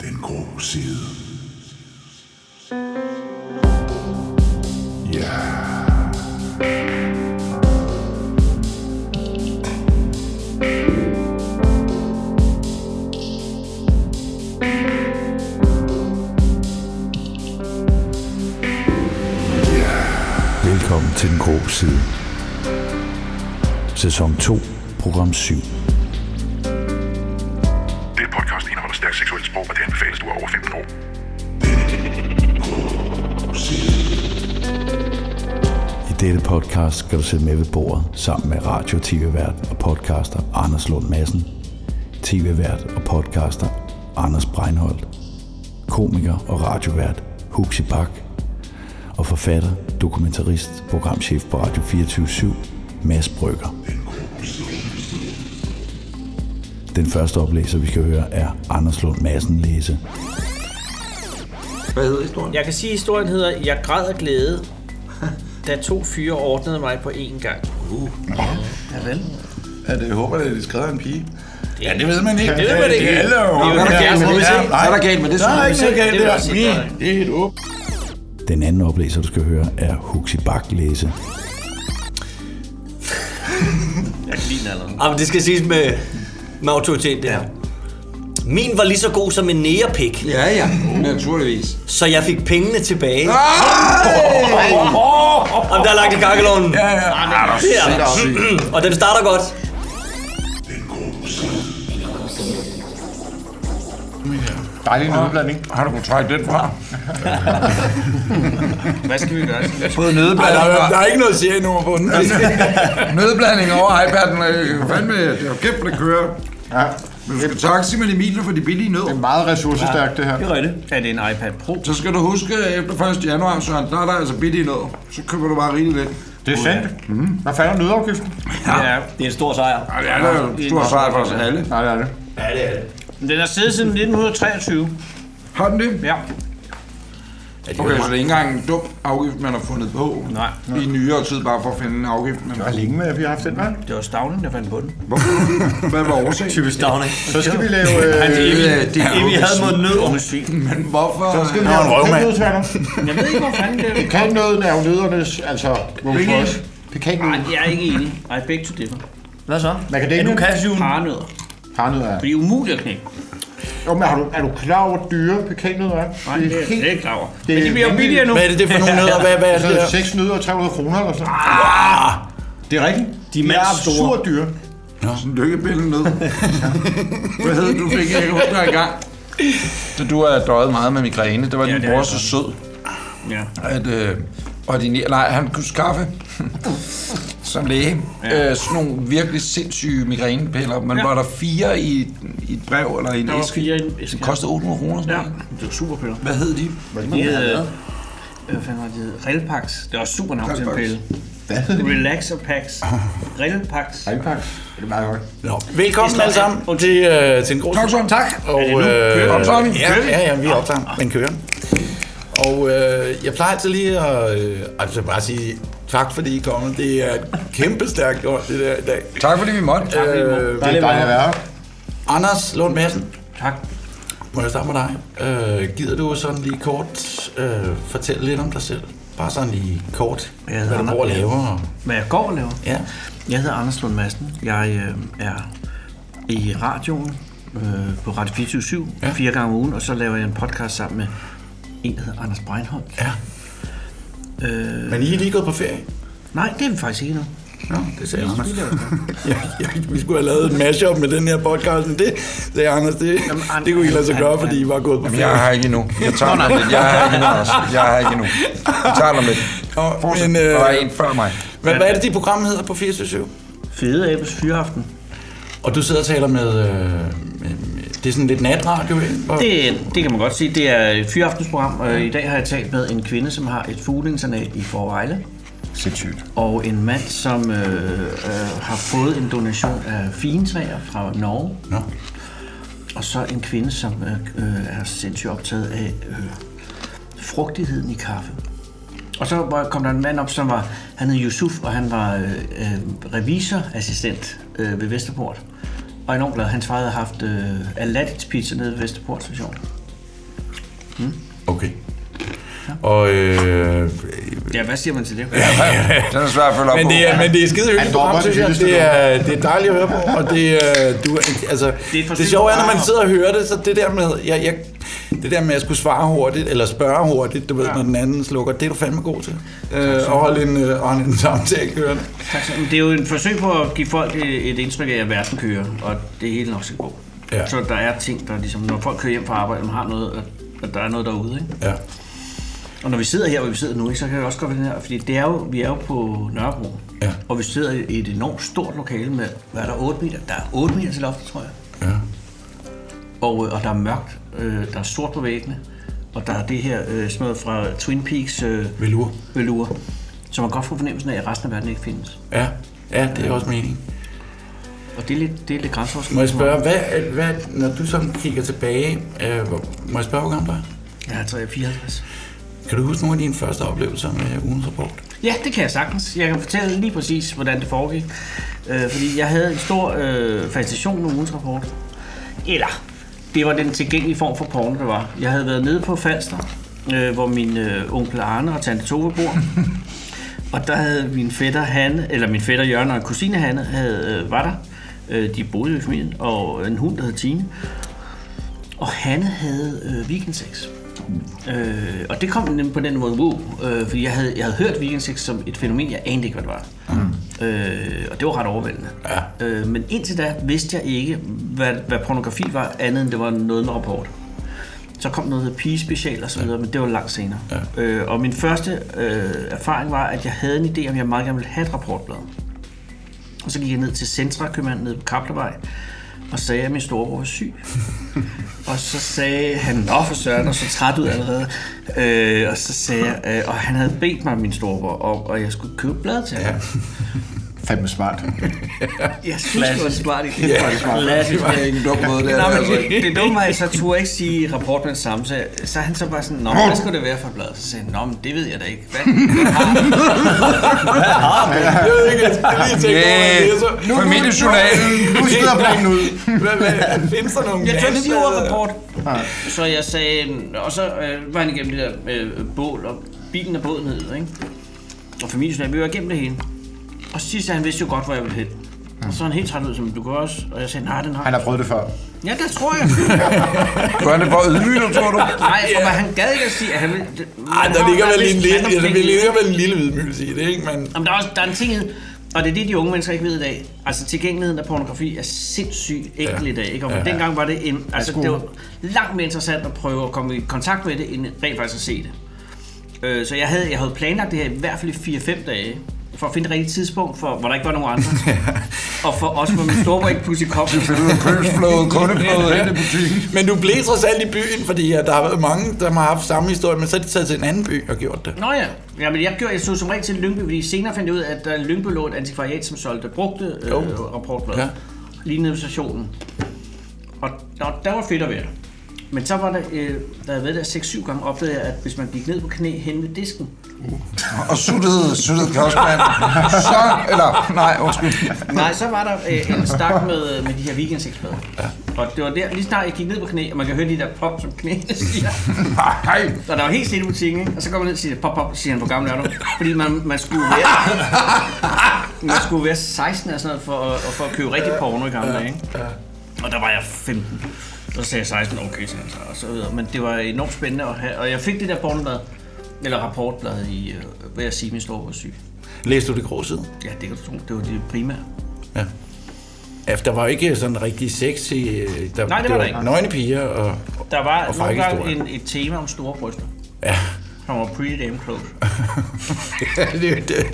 Den grå side. Ja. Velkommen til Den Grå Side. Sæson 2, program 7. Det podcast indeholder stærkt seksuelt sprog, og det anbefales, du er over 15 år. I dette podcast skal du sidde med ved bordet sammen med radio- og tv-vært og podcaster Anders Lund Madsen, tv-vært og podcaster Anders Breinholt, komiker og radiovært Huxi Bak og forfatter, dokumentarist, programchef på Radio 24 Mads Brygger. Den første oplæser, vi skal høre, er Anders Lund Madsen læse Hvad hedder historien? Jeg kan sige, at historien hedder Jeg græd af glæde, da to fyre ordnede mig på én gang. Ja, øh, det jeg håber jeg, at de skrev en pige. Det, Ja, det ved man ikke. Det ved man ikke. Det er jo. Det er jo Ja, galt med det. ja, nej. Hvad er der galt med det, Der synes er du? ikke Det noget galt. Det vil er jeg sige, min. Frederik. Det er helt åbent. Den anden oplæser, du skal høre, er Huxi Bak læse. Jamen, Ah, det skal siges med, med autoritet, det her. Min var lige så god som en nægerpik, Ja, ja, naturligvis. så jeg fik pengene tilbage. Om der er lagt i kakkeloven. Ja, ja. Der. Og den starter godt. Den grå side. Dejlig en udblanding. Har du kunnet trække den fra? Hvad skal vi gøre? Skal vi- Både nødebladet og... der er ikke noget serienummer på den. Nødblanding over iPad'en. øh, Fandme, det er kæft, det kører. Ja. Men du skal taxi med Emilio for de billige nød. Det er meget ressourcestærkt, det her. Er det en iPad Pro? Så skal du huske, at efter 1. januar, så der er der altså billige nød. Så køber du bare rigeligt lidt. Det er sandt. Mm. Hvad fanden er nødafgiften? Ja. Det er en stor sejr. Ej, det er da en stor sejr for os alle. Nej, det er det. Den har siddet siden 1923. Har den det? Ja. Okay, så det er ikke engang en dum afgift, man har fundet på Nej. i nyere tid, bare for at finde en afgift. Men Det var længe med, at vi har haft den, hva'? Det var Stavlen, der fandt på den. hvorfor? Hvad var årsagen? Typisk Downing. Så skal vi lave... Øh, øh, Det er Evig havde mod nød. Men hvorfor? så skal vi lave en røvmand. Jeg ved ikke, hvor fanden det er. Pekannøden er jo nødernes, altså... Rolls Royce. Nej, Pekannøden. jeg er ikke enig. I beg to differ. Hvad så? Man kan dække Er du den. cashewen? Parnødder. Parnød er. For de er umulige at knække. Jo, men har du, er du klar over, hvor dyre pekannød er? Nej, det er jeg slet ikke klar over. Men de er bliver jo vanvittigt. billigere nu. Hvad er det, det for nogle nødder? Hvad, hvad er det Altså, der? 6 nødder og 300 kroner eller sådan noget. Det er rigtigt. De er mandstore. absurd dyre. Sådan lykkepillen ned. Hvad hed du fik? Jeg kan huske, der i gang. Så du har døjet meget med migræne. Det var Ja, din det bror er så sød, Ja. at øh, ordinere, nej, han kunne skaffe som læge Ja. øh, sådan nogle virkelig sindssyge migrænepiller. Men Ja. var der fire i, et- i et brev eller i en Der var æske? fire i en æske, Det ja. kostede 800 kroner. Ja. Ja. Det var superpiller. Hvad hed de? De hed... øh, Hvad fanden var det, de hed? Relpax. Det var også super navn til en Relpax. pille. Hvad hed det? Relaxer Pax. Relpax. Regnpakke. Det er meget godt. Nå. Velkommen Det er alle slet- sammen til, øh, til en grå Tak, Søren, tak. Og, det nu? Kører den, Tommy? Øh, ja, Kører vi? Ah. ja, ja, vi er optaget. Den kører. Og øh, jeg plejer altid lige at øh, altså bare sige tak, fordi I er kommet. Det er et kæmpe stærkt år, det der i dag. Tak fordi vi måtte. Øh, Det er dejligt at være her. Anders Lund Madsen, Tak. må jeg starte med dig? Øh, gider du sådan lige kort øh, fortælle lidt om dig selv? Bare sådan lige kort, Jeg hedder hvad du Anders. går og laver. og- Hvad jeg går og laver? Ja. Jeg hedder Anders Lund Madsen. Jeg øh, er i radioen øh, på Radio 24 Ja. ja. fire gange om ugen, og så laver jeg en podcast sammen med en, der hedder Anders Breinholt. ja. Øh, Men I er lige gået på ferie? nej, det er vi faktisk ikke nu. Nå, det sagde Anders. ja, ja, vi skulle have lavet en mashup med den her podcast, men det sagde Anders, det, Jamen, Anders- det kunne I lade sig gøre, Jamen, fordi I var gået på Jeg ferie. er her ikke endnu. Jeg tager dig om lidt. Jeg er her ikke endnu, Anders. Jeg er her ikke endnu. Vi tager dig om lidt. Nå, Fortsæt. men, øh, Og der er en før mig. Hvad, hvad er det, dit program hedder på 427? Fede Abes Fyraften. Og du sidder og taler med... Øh, med, med det er sådan lidt natradio, ikke? Hvor- Det, det kan man godt sige. Det er et fyraftensprogram. Øh, I dag har jeg talt med en kvinde, som har et fugleinternat i Forvejle. Sindssygt. Og en mand, som øh, øh, har fået en donation af fintræer fra Norge. Nå. Og så en kvinde, som øh, øh, er sindssygt optaget af øh, frugtigheden i kaffe. Og så var- kom der en mand op, som var, han hed Yusuf, og han var øh, øh, revisorassistent øh, ved Vesterport. Og enormt glad. Hans far havde haft øh, Aladdin's Pizza nede ved Vesterport station. Okay. Og, øh, Ja, hvad siger man til det? Den er svær at følge op men, på. det er, men det er skide hyggeligt Han dropper program, det synes jeg. vildeste Det er, det er dejligt at høre på, og det, øh, du, er- altså, et det, forsøg det sjove er, når på- man sidder og hører det, så det der med, jeg, jeg, det der med at skulle svare hurtigt, eller spørge hurtigt, du ved, når den anden slukker, det er du fandme god til. Øh, og holde en, øh, og holde en samtale kørende. Tak, så- men Altså, det er jo en forsøg på at give folk et et indtryk af, at verden kører, og det hele nok skal gå. Ja. Så der er ting, der ligesom, når folk kører hjem fra arbejde, man har noget, at- at der er noget derude, ikke? Ja. Og når vi sidder her, hvor vi sidder nu, ikke, så kan det også godt være den her, fordi det er jo, vi er jo på Nørrebro, Ja. og vi sidder i et enormt stort lokale med, hvad er der, 8 meter? Der er 8 meter til loftet, tror jeg. Ja. Og, øh, og der er mørkt, øh, der er sort på væggene, og der er det her øh, sådan noget fra Twin Peaks øh, Velure. velure, som man godt får fornemmelsen af, at resten af verden ikke findes. Ja. ja, det er også meningen. Og det er lidt, det er lidt grænseoverskridende. Må jeg spørge, hvad, hvad, når du sådan kigger tilbage, øh, hvor, må jeg spørge, hvor gammel du er? Jeg er 54. Kan du huske nogle af dine første oplevelser med ugens rapport? Ja, det kan jeg sagtens. Jeg kan fortælle lige præcis, hvordan det foregik. Øh, fordi jeg havde en stor øh, fascination med ugens rapport. Eller, det var den tilgængelige form for porno, der var. Jeg havde været nede på Falster, øh, hvor min øh, onkel Arne og tante Tove bor. og der havde min fætter Hanne, eller min fætter Jørgen og kusine Hanne, havde, øh, var der. Øh, de boede i familien, og en hund, der hed Tine. Og Hanne havde øh, weekendsex. Øh, og det kom nemlig på den måde, wow, øh, fordi jeg havde, jeg havde hørt weekendsex som et fænomen, jeg anede ikke, hvad det var. Mm. Øh, og det var ret overvældende. Ja. Øh, men indtil da vidste jeg ikke, hvad, hvad pornografi var, andet end det var noget med rapport. Så kom noget der hed pigespecial og så videre, men det var langt senere. Ja. Øh, og min første øh, erfaring var, at jeg havde en idé om, at jeg meget gerne ville have et rapportblad. Og så gik jeg ned til Centra, købmanden nede på Kaplervej, og sagde, at min storebror var syg. Og så sagde han, nå for søren, og så træt ud allerede. Øh, og så sagde jeg, øh, og han havde bedt mig, min storebror, om, og jeg skulle købe blad til ham. Fandme smart. Jeg synes, det var en smart idé. Det Klassisk. var ingen dum måde, det er. Nå, men altså. det, det dumme var, at jeg så turde ikke sige rapport med det samme, så, så han så bare sådan, nå, men hvad skulle det være for et blad? Så sagde han, nå, men det ved jeg da ikke. Hvad, hvad har du?" Ah, Jeg ved ikke, jeg skal lige tænke over, Næh, det er så... Nu, nu, familiejournalen. Nu skyder planen ud. hvad, hvad, findes der nogle øh? Jeg tog altså- ikke sige ordet blandede- rapport. Så jeg sagde, og så øh, var han igennem det der øh, bål, og bilen og båden hed, ikke? Og familien sagde, vi var igennem det hele. Og så sidst, han vidste jo godt, hvor jeg ville hen. Og så er han helt træt ud, som du gør også. Og jeg sagde, nej, den har... Han har prøvet det før. Ja, det tror jeg. Gør det for ydmygt, tror du? nej, jeg tror bare, han gad ikke at sige, at han ville... Ej, der ligger vel en lille, ja, altså, der lille... ligger vel en lille vidmyldelse i det, ikke? Men Jamen, der er, også, der er en ting, i det, og det er det, de unge mennesker ikke ved i dag. Altså, tilgængeligheden af pornografi er sindssygt ægte i dag. Ikke? Og ja, ja. dengang var det en... Altså, det var langt mere interessant at prøve at komme i kontakt med det, end rent faktisk at se det. Øh, så jeg havde, jeg havde planlagt det her i hvert fald i 4-5 dage, for at finde det rigtige tidspunkt, for, hvor der ikke var nogen andre. og for også, hvor min storebror ikke pludselig kom. Købsflåde, kundeflåde, hen i butikken. Men du blev trods alt i byen, fordi at der har været mange, der har haft samme historie, men så er de taget til en anden by og gjort det. Nå ja, ja men jeg, gjorde, jeg så som regel til Lyngby, fordi senere fandt jeg ud af, at der i Lyngby lå et antikvariat, som solgte brugte øh, rapportblad. Ja. Ja. Lige nede ved stationen. Og der, der var fedt at være. Men så var der, øh, der havde været der 6-7 gange, opdagede jeg, at hvis man gik ned på knæ hen ved disken, Og suttede, suttede kostmand. Så, eller, nej, undskyld. Nej, så var der øh, en stak med, med de her weekendseksplader. Ja. Og det var der, lige snart jeg gik ned på knæ, og man kan høre de der pop, som knæene siger. Nej, Og der var helt stille i butikken, ikke? og så går man ned og siger, pop, pop, siger han, hvor gammel er du? Fordi man, man skulle være... man skulle være 16 eller sådan noget, for at, for at købe rigtig porno i gamle dage, ikke? Og der var jeg 15. Så sagde jeg 16, okay, sagde han så, og så videre. Men det var enormt spændende at have, og jeg fik det der pornoblad, eller rapportblad i, øh, hvad jeg siger, min store var syg. Læste du det grå side? Ja, det kan du tro, det var det primære. Ja. Ja, for der var jo ikke sådan rigtig sexy... øh, Der, Nej, det var der ikke. Nøgne piger og... Der var Og nogle frække gange historier. en, et tema om store bryster, Ja, som var pretty damn close. det er jo det.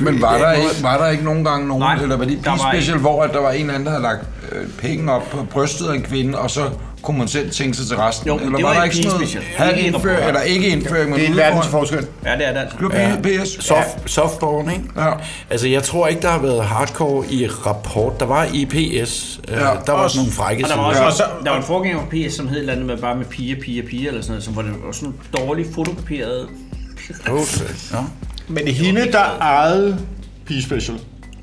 Men var der, ikke, var der ikke nogen gange nogen, Nej, Nej, eller var det der var de special, hvor at der var en eller anden, der havde lagt øh, penge op på brystet af en kvinde, og så kunne man selv tænke sig til resten? Jo, men eller det var, var der i ikke sådan noget Pigespecial. halv Ikke indføring, indføring. eller ikke indføring, men Det er en udenfor- verdensforskel. Ja, det er det altså. Det var P- PS. Soft, softporn, ikke? Ja. Altså, jeg tror ikke, der har været hardcore i rapport. Der var i PS. Ja, der var også, også. nogle frække Og der var sider. også Ja, ja, og så- så, der var en forgænger på PS, som hed et eller andet med bare med piger, piger, piger eller sådan noget, som var det var sådan nogle dårligt fotokopieret. Åh, Ja. Men hende, der ejede P-Special,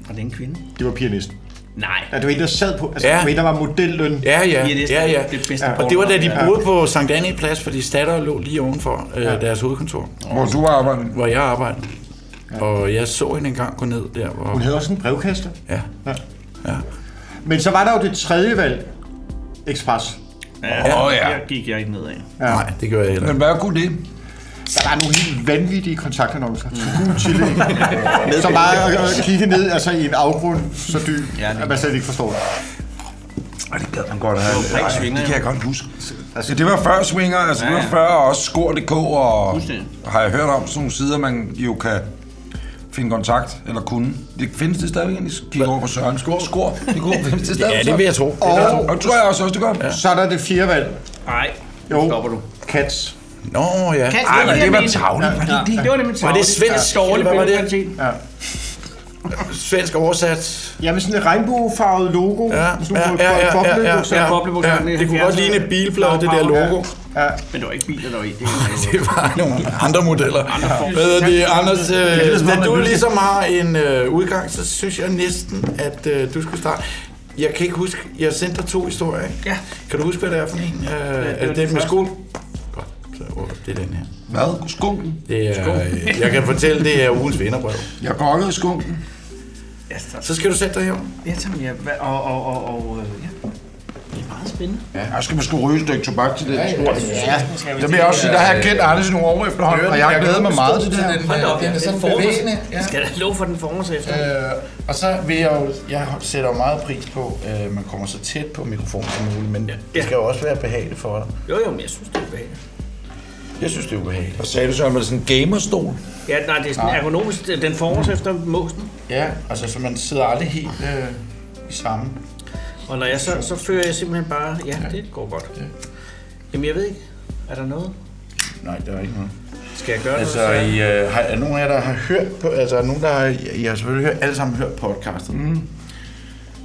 Var det en kvinde? det var pianisten. Nej. Ja, det var en, der sad på. Altså, Ja. ja. det var en, der var modelløn. Ja, ja, Ja, det er ja, ja. det bedste Og det var da de Ja. boede på Sankt Anne Plads, fordi Statter lå lige ovenfor øh, deres hovedkontor, Hvor du arbejder. hvor jeg arbejdede. Og jeg så hende engang gå ned der, hvor... Hun havde også en brevkasse. Ja. Ja. Ja. Men så var der jo det tredje valg. Express. Åh ja. Der gik jeg ikke nedad. Nej, det gør jeg heller Men ikke. hvad kunne det? Der var nogle helt vanvittige kontaktannoncer. Gule chili. som bare at kigge ned altså, i en afgrund så dyb, Ja, ja, det- at man slet ikke forstår det. Ej, det gad man godt at have. Prik Ej, Swinger, det kan ja. jeg godt huske. Altså, det var før Swinger, altså det var før også Skor.dk, og Fuldstændig. har jeg hørt om sådan nogle sider, man jo kan finde kontakt, eller kunne. Det findes det stadigvæk, egentlig? Kig over på Søren. Skor. Skor. Det kunne findes det stadigvæk. Ja, det vil jeg tro. Og, og tror jeg også, også det gør. Ja. Så er der det fjerde valg. Nej. Jo, Stopper du. Cats. Nå, ja. Cats, Ej, det var men det, det jeg var mente. tavlen. Ja. Det var nemlig Var det svensk, eller hvad var det? det? Svensk oversat. Jamen sådan et regnbuefarvet logo. Ja, sådan nogle ja, ja, ja, boble- ja, boblebukserne. ja. Boblebukserne, det er det kunne godt 70'erne. ligne et bilblad, det der logo. Men det var ikke biler, der var i. Det Det var nogle andre modeller. Hvad hedder det, Anders? Øh, da du ligesom har en øh, udgang, så synes jeg næsten, at øh, du skulle starte. Jeg kan ikke huske, jeg sendte dig to historier, ikke? Ja. Kan du huske, hvad det er for en? Øh, er det den den med første. skole? Godt, så åh, det er den her. Hvad? Skunken. Det er, øh, jeg kan fortælle, det er ugens vinderbrev. Jeg gokkede skunken. Ja, tak. Så skal du sætte dig her. Ja, tak. Ja, hva- og, og, og, og, øh, ja. Det er meget spændende. Ja, jeg skal måske ryge et stykke tobak til det. Ja, ja, Ja, Der vil jeg også sige, der har jeg kendt Anders i nogle år efterhånden, og jeg har glædet mig meget til det her. Hold da op, ja. Den, sådan former sig. bevægende, ja. Skal der lov for den former sig efter? Øh, og så vil jeg jo, jeg sætter jo meget pris på, at øh, man kommer så tæt på mikrofonen som muligt, men ja. det skal jo også være behageligt for dig. Jo, jo, men jeg synes, det er ubehageligt. Jeg synes, det er ubehageligt. Hvad sagde du så, var det sådan en gamerstol? Ja, nej, det er sådan ergonomisk. Den former sig efter måsen. Ja, altså så man sidder aldrig helt øh, i samme. Og når jeg så, så fører jeg simpelthen bare... Ja, det går godt. Jamen, jeg ved ikke. Er der noget? Nej, det er ikke noget. Skal jeg gøre noget? Altså, I, øh, har, er nogen af jer, der har hørt på, altså er nogen, der har, I- I har selvfølgelig hørt, alle sammen hørt podcastet. Mm.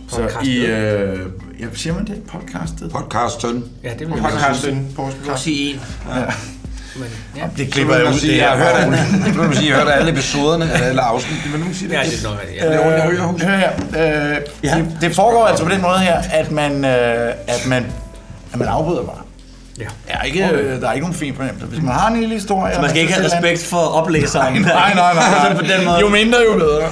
Så Podcastet. I, øh, jeg siger man det, podcastet? Podcast Tøn. Ja, det vil jeg godt podcasten. Podcast. sige en. Men, ja. Det klipper jeg ud, sige, det jeg er har hørt alle, så vil man sige, jeg har hørt alle episoderne, eller alle afsnittene, men nu siger ja, det. det er nok rigtigt. Øh, Ja. Hør her. Øh, ja. det, det foregår altså på den måde her, at man, øh, at man, at man afbryder bare. Ja. Er ikke, øh, der er ikke nogen fin fornemmelse. Hvis man har en lille historie... Man skal ikke have respekt for oplæseren. Nej, nej, nej. nej. på den måde. Jo mindre, jo bedre.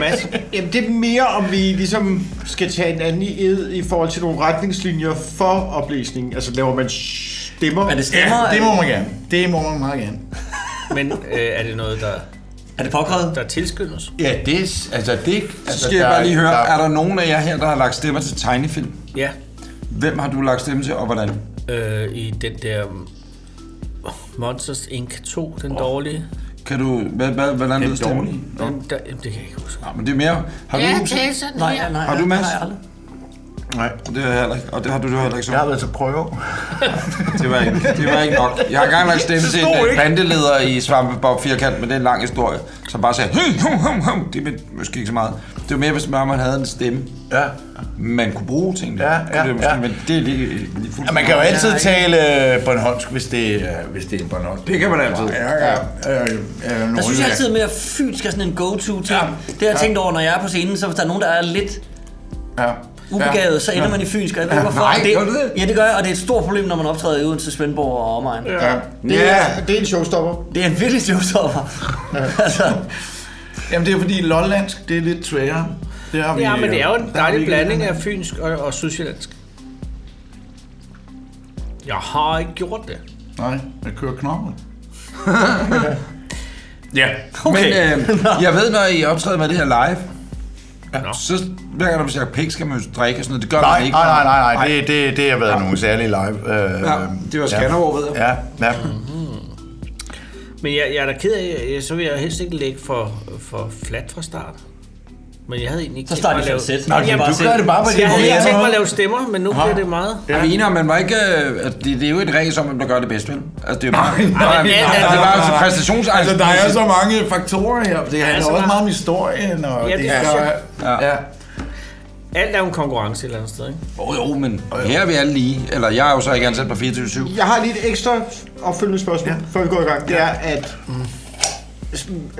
Mads, Jamen, det er mere, om vi ligesom skal tage en anden i ed i forhold til nogle retningslinjer for oplæsningen. Altså, laver man stemmer? Er det stemmer? Ja, det må man gerne. Det må man meget gerne. men øh, er det noget, der, er det påkrævet? der tilskyndes? Ja, det er... Altså, det... Så skal jeg bare lige høre, er der nogen af jer her, der har lagt stemmer til tegnefilm? Ja, Hvem har du lagt stemme til, og hvordan? øh, i den der um, Monsters Inc. 2, den dårlige. Kan du, hvad, hvad, hvordan lyder stemmen? Den, der, jamen, det kan jeg ikke huske. Ja, men det er mere, har du, sådan nej, her. har du Mads? Nej. Det har jeg heller ikke, og det har du, du heller ikke så. Jeg har været til prøve. Det var ikke, det var ikke nok. Jeg har engang lagt stemme til en øh, bandeleder i Svampebob Firkant, men det er en lang historie, som bare sagde, hum, hum, hum, hum. det er måske ikke så meget. Det var mere, hvis man havde en stemme, Ja. man kunne bruge ting. Ja, ja, det måske, ja. Men det er lige, lige ja. Man kan jo altid tale øh, Bornholmsk, hvis det, øh, hvis det er en Bornholmsk. Det kan man altid. Ja, ja. ja. Øh, øh, Der synes jeg altid mere, at fynsk er sådan en go-to ting. Ja. Det har jeg tænkt over, når jeg er på scenen, så hvis der er nogen, der er lidt Ja. ubegavet, ja. så ender man i fynsk. Og jeg ved ikke, hvorfor. nej, Og det, gør du det? Ja, det gør jeg, og det er et stort problem, når man optræder i Odense, Svendborg og omegn. Ja. Ja. Ja, Det er en showstopper. Det er en virkelig showstopper. Ja. altså, Jamen, det er fordi lollandsk, det er lidt sværere. Det har vi, Ja, men det er jo der en har vi dejlig ikke- blanding af fynsk og, og sydsjællandsk. Jeg har ikke gjort det. Nej, jeg kører knoppen. okay. men øh, jeg ved, når I optræder med det her live, Nå. ja. så hver gang der bliver sagt pik, skal man jo drikke og sådan noget. Det gør man Nej, ikke. nej, nej, nej, nej. Det, det, det har været ja. nogle særlige live. Øh, Ja, det var Skanderborg, ved jeg. Ja, ja. Men jeg, jeg er da ked af, jeg- så vil jeg helst ikke lægge for, for flat fra start. Men jeg havde egentlig ikke så tænkt starter mig de at sådan lave... et sæt. Nå, jamen, du gør det bare på Jeg din havde ikke måde. tænkt mig at lave stemmer, men nu bliver det meget. Jeg mener, man var ikke... øh, at det, det er jo et race om, hvem der gør det bedst, vel? Altså, det er jo bare... Nej, nej, men- nej, det er bare altså præstationsangst. Altså, der er så mange faktorer her. Det handler så også meget. meget om historien. Og Altså, Ja, ja, det det, synes jeg. ja. ja. Alt er jo en konkurrence et eller andet sted, ikke? Jo, jo, men her er vi alle lige. Eller jeg er jo så ikke ansat på 24-7. Jeg har lige et ekstra opfølgende spørgsmål, ja. før vi går i gang. Det er, at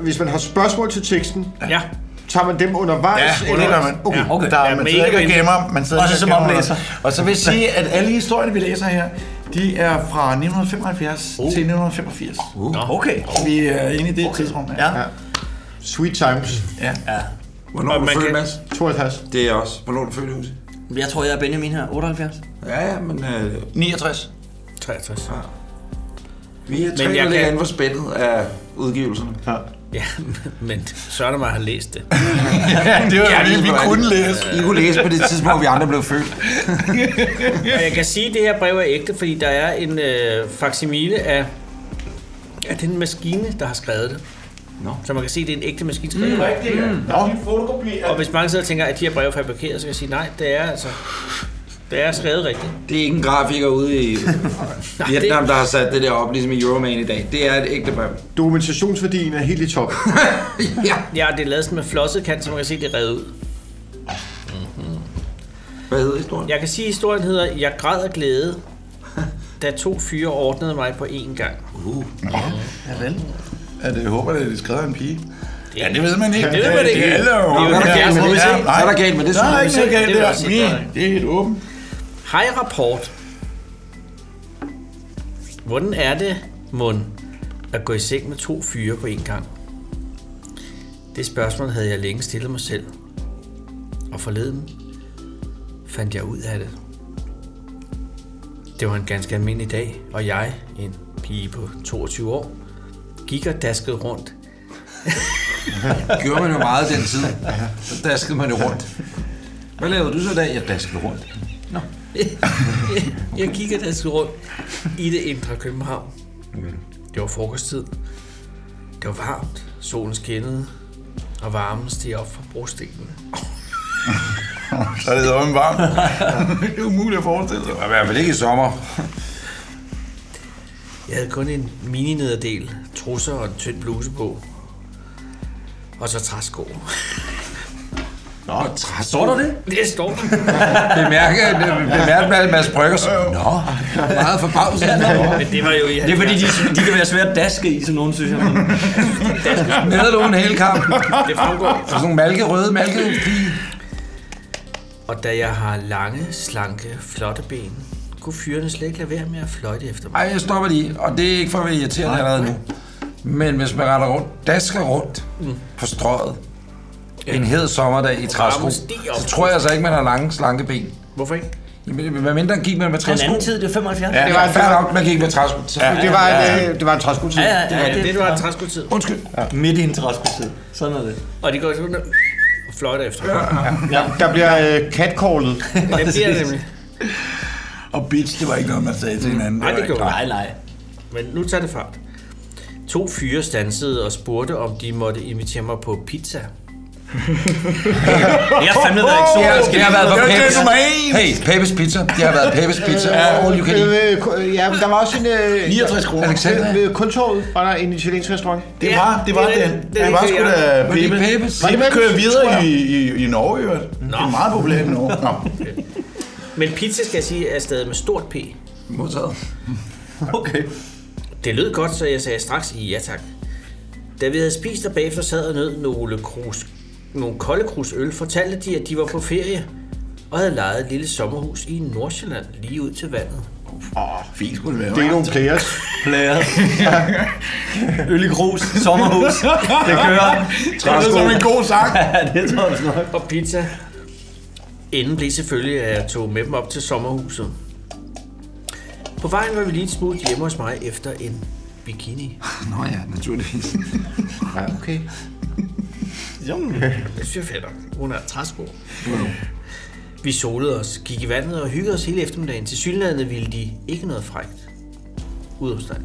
hvis man har spørgsmål til teksten, Ja. så tager man dem undervejs? Ja, det gør man. Okay. Ja, okay. Der, Ja, man sidder mega ikke og venlig. gemmer, man sidder Også ikke og som gemmer oplæser. noget. Og så vil jeg sige, at alle historierne, vi læser her, de er fra 1975 Oh. til 1985. Uh. Okay. Vi er inde i det tidsrum her. Ja. Sweet times. Ja. ja. Hvornår er du født, Mads? 52. Det er også. Hvornår er du født, Husi? Jeg tror, jeg er Benjamin her. 78. Ja, ja, men... Øh, 69. 63. Ja. Vi er Men tre, jeg der kan- ligger inde for spændet af udgivelserne. Ja. Ja, men så er der mig, at han læste det. Ja, det var det, vi kunne læse. I kunne læse på det tidspunkt, vi andre blev født. Og jeg kan sige, at det her brev er ægte, fordi der er en øh, facsimile af, af den maskine, der har skrevet det. No. Så man kan se, at det er en ægte maskinskriver. Det er rigtigt, ja. Der er lige fotokopier. Og hvis mange sidder og tænker, at de her brev er fabrikeret, så kan jeg sige, nej, det er altså... Det er skrevet rigtigt. Det er ikke en grafiker ude i Vietnam, det- der har sat det der op, ligesom i Euroman i dag. Det er et ægte brev. Dokumentationsværdien er helt i top. Ja, ja det er lavet sådan med flosset kant, så man kan se, at det er revet ud. Hvad hedder historien? Jeg kan sige, at historien hedder, Jeg græd af glæde, da to fyre ordnede mig på én gang. Uh. Ja, vel. Ja, det jeg håber, det er det skrevet af en pige. Ja, det ved man ikke. Det ved man ikke. Hello. Det er jo- Ja, Hvad er der ja, galt med må vi det? se. Ja, Nej. hvad er der galt med det? Så Der må er vi ikke se. noget Det galt det vil der. jeg sige. Vi- Det er helt åbent. Hej rapport. Hvordan er det, Mund, at gå i seng med to fyre på én gang? Det spørgsmål havde jeg længe stillet mig selv. Og forleden fandt jeg ud af det. Det var en ganske almindelig dag, og jeg, en pige på 22 år, gik og daskede rundt. Gjorde man jo meget den tid. Så daskede man jo rundt. Hvad lavede du så i dag? Jeg daskede rundt. jeg kigger deres rundt i det indre København. Mm. Det var frokosttid. Det var varmt. Solen skinnede. Og varmen steg op fra brostenene. Så er det om varmt. det er umuligt at forestille sig. Det var i hvert fald ikke i sommer. Jeg havde kun en mini-nederdel, trusser og en tynd bluse på. Og så træsko. Nå, træsko. Står der det? Det står der. Bemærke, bemærke med Mads Bryggers. Nå, meget forbavset. Ja, men det var jo i Det er fordi, de, de kan være svært daske i, som nogen synes. Jeg. Nede lå en hel kamp. Det fremgår. Så sådan nogle malkerøde malke. Og da jeg har lange, slanke, flotte ben, kunne fyrene slet ikke lade være med at fløjte efter mig. Ej, jeg stopper lige. Og det er ikke for at være irriterende allerede nu. Men hvis man retter rundt, dasker rundt på strøget, en hed sommerdag i træsko, varmen stiger op. så tror jeg så ikke, man har lange, slanke ben. Hvorfor ikke? Jamen, Hvad mindre gik man med Den træsko? anden tid, det er 75. Ja, det var fair nok, man gik med træsko. Ja, det var, ja. det var en træskutid. Ja, ja, ja, Ja, det var træskotid. Undskyld. Midt i en træskotid. Sådan er det. Og de går sådan og og fløjter efter mig. Der bliver øh, catcallet. Det bliver det nemlig. Og bitch, det var ikke noget, man sagde til hinanden. Nej, det gjorde var det ikke- Nej, nej. Men nu tager det fart. To fyre stansede og spurgte, om de måtte invitere mig på pizza. Jeg har fandme været Det har, eksotisk. det har været på Det var det Peppes. nummer en. Hey, Peppes Pizza. Det har været Peppes Pizza. Ja, all you can eat. Øh, ku- ja, men der var også en... Øh, 69 kroner. Alexander. Ved, ved Kultorvet var der en italiensk restaurant. Det Ja, var, det var det er den. det. Det er Det var det, sgu jeg- da Var det Peppe. Peppes? Var det Peppes, kører tror videre jeg. i, i, i Norge, jo. Det er meget populært i Norge. Nå. Men pizza, skal jeg sige, er stadig med stort P. Modtaget. Okay. Det lød godt, så jeg sagde straks ja tak. Da vi havde spist og bagefter sad og nød nogle, krus, nogle kolde krus øl, fortalte de, at de var på ferie og havde lejet et lille sommerhus i Nordsjælland lige ud til vandet. Fint skulle det være. Det er nogle players. Plader. Øl i grus. Sommerhus. Det kører. Det er som en god sang. Ja, det tror jeg nok. og pizza. Inden blev selvfølgelig, at jeg tog med dem op til sommerhuset. På vejen var vi lige et smut hjemme hos mig efter en bikini. Nå ja, naturligvis. Okay. Jo. Det synes jeg fedt. nok. Hun er træsko. Vi solede os, gik i vandet og hyggede os hele eftermiddagen. Til synlandet ville de ikke noget frægt. Udopstand.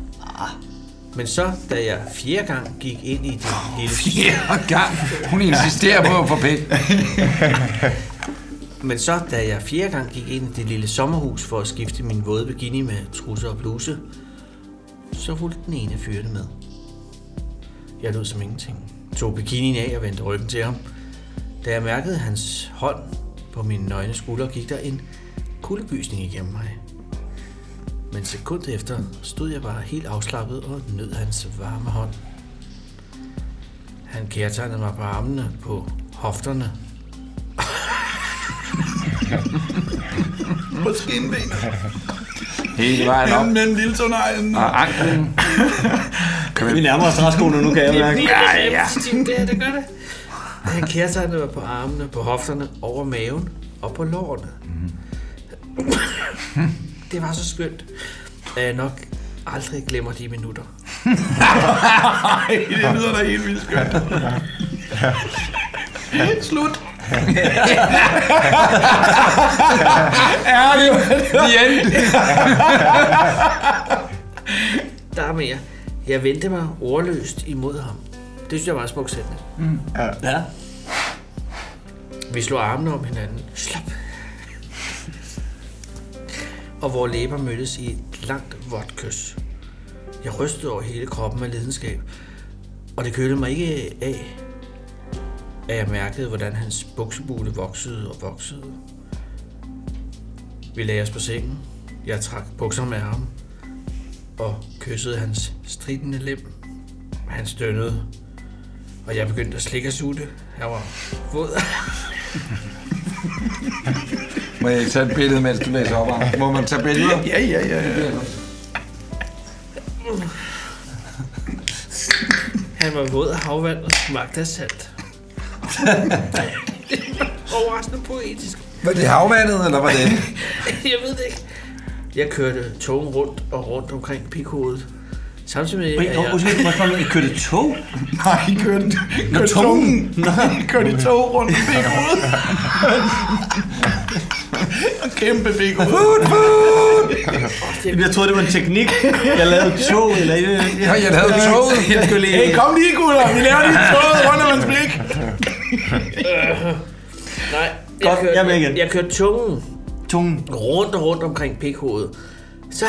Men så, da jeg fjerde gang gik ind i det lille... Fjerde gang. Hun insisterer på at få penge. Men så, da jeg fjerde gang gik ind i det lille sommerhus for at skifte min våde bikini med trusser og bluse, så fulgte den ene fyrte med. Jeg lød som ingenting. Tog bikinien af og vendte ryggen til ham. Da jeg mærkede hans hånd på mine nøgne skuldre, gik der en kuldegysning igennem mig. Men sekundet efter stod jeg bare helt afslappet og nød hans varme hånd. Han kærtegnede mig på armene på hofterne. På skinbenet. Hele vejen op. Mellem- Mellem lille tåneglen. Og anklen. Vi nærmer os træskoene nu, kan jeg mærke. Ja, ja. Det, det gør det. Han kærtegnede mig på armene, på hofterne, over maven og på lårene. det var så skønt, at jeg nok aldrig glemmer de minutter. Ej, det lyder da helt vildt skønt. Slut. er det jo the end? Der er mere. Jeg vendte mig ordløst imod ham. Det synes jeg var en smuk sætning. Mm. Ja. Vi slog armene om hinanden. Slap. Og vores læber mødtes i et langt, vådt kys. Jeg rystede over hele kroppen af lidenskab, og det kølede mig ikke af, at jeg mærkede, hvordan hans buksebule voksede og voksede. Vi lagde os på sengen. Jeg trak bukserne af ham og kyssede hans stridende lem. Han stønnede, og jeg begyndte at slikke og suge det. Jeg var våd. Må jeg ikke tage et billede, mens du læser op? Anders? Må man tage billeder? Ja, ja, ja. ja. Han var våd af havvand og smagte af salt. Overraskende poetisk. Var det havvandet, eller var det? Jeg ved det ikke. Jeg kørte togen rundt og rundt omkring pikhovedet. Samtidig med, Wait, oh, undskyld, må jeg spørge om, I kørte tog? Nej, I kørte, Nå, kørte tungen. tungen. I kørte i tog rundt i big hovedet. Og kæmpe big hovedet. Jeg troede, det var en teknik. Jeg lavede tog, eller... Jeg, Ja, jeg lavede toget. Jeg skulle lige... Hey, kom lige, gutter. Vi laver lige toget rundt om hans blik. Nej, jeg kørte, jeg er med jeg, jeg kørte tungen, tungen rundt og rundt omkring pikhovedet. Så...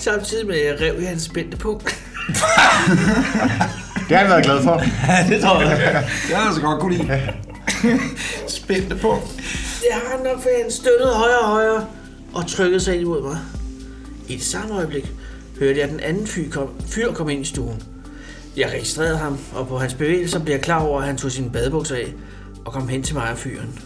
Samtidig med, at jeg rev i hans spændte punkt. Det har han været glad for. det tror jeg. Det har jeg så godt kunne lide. Spændte på. Det har han nok, for han støttede højere og højere og trykkede sig ind imod mig. I det samme øjeblik hørte jeg den anden fyr, kom, fyr komme ind i stuen. Jeg registrerede ham, og på hans bevægelser blev jeg klar over, at han tog sine badebukser af og kom hen til mig og fyren.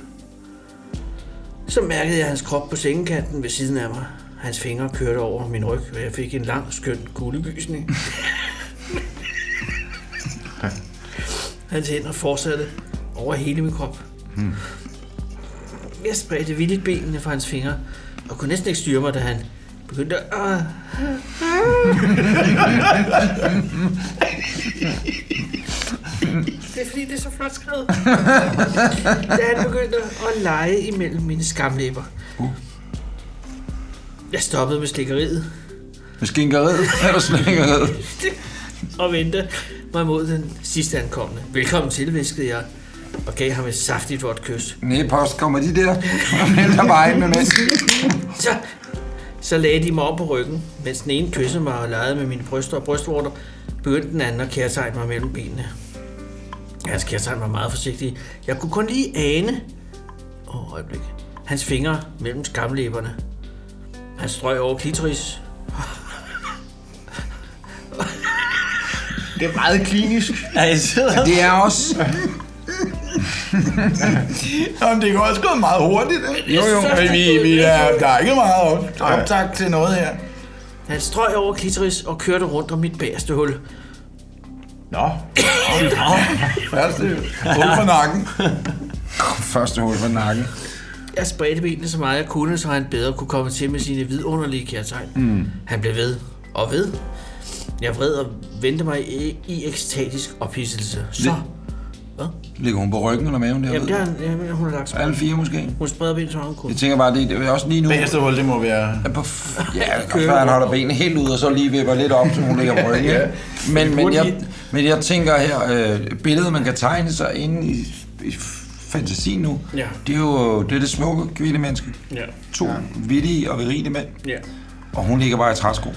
Så mærkede jeg hans krop på sengekanten ved siden af mig. Hans fingre kørte over min ryg, og jeg fik en lang, skøn kuldegysning. hans hænder fortsatte over hele min krop. Jeg spredte vildt benene fra hans fingre, og kunne næsten ikke styre mig, da han begyndte at... Ah, Det er fordi, det er så flot skrevet. da han begyndte at lege imellem mine skamlæber. Jeg stoppede med slikkeriet Med skinkeriet eller slikkeriet? og vendte mig mod den sidste ankommende. Velkommen til, viskede jeg, og gav ham et saftigt vådt kys. Nej, post kommer de der. Og venter bare ind med mennesken. Så, så lagde de mig op på ryggen, mens den ene kyssede mig og legede med mine bryster og brystvorter, begyndte den anden at kærtegne mig mellem benene. Hans kærtegn var meget forsigtig. Jeg kunne kun lige ane... Åh, oh, øjeblik. Hans fingre mellem skamlæberne. Han strøg over klitoris. Det er meget klinisk. Ja, jeg sidder... Det er også... Jamen, det går også gået meget hurtigt. ikke? Jo, jo. Men vi, vi er, der er ikke meget op, optag til noget her. Han strøg over klitoris og kørte rundt om mit bagerste hul. Nå. Første hul for nakken. Første hul for nakken. Jeg spredte benene så meget jeg kunne, så han bedre kunne komme til med sine vidunderlige kærtegn. Mm. Han blev ved og ved. Jeg vred og vendte mig i, i ekstatisk ophidselse. Så, Ligger hun på ryggen eller maven der? jamen, der, er- jamen, hun har lagt sig. Alle fire måske? Hun spreder benene så meget hun kunne. Jeg tænker bare, det det er også lige nu... Bagerste hul, det må være... Ja, på f- ja, det kan godt være, han holder benene helt ud, og så lige vipper lidt op, så hun ligger på ryggen. ja. men, men, jeg, men jeg tænker her, øh, billedet, man kan tegne sig inde i, i fantasien nu, Ja. det er jo det, er det smukke kvinde menneske. Ja. To ja. vittige og virile mænd, Ja. og hun ligger bare i træsko.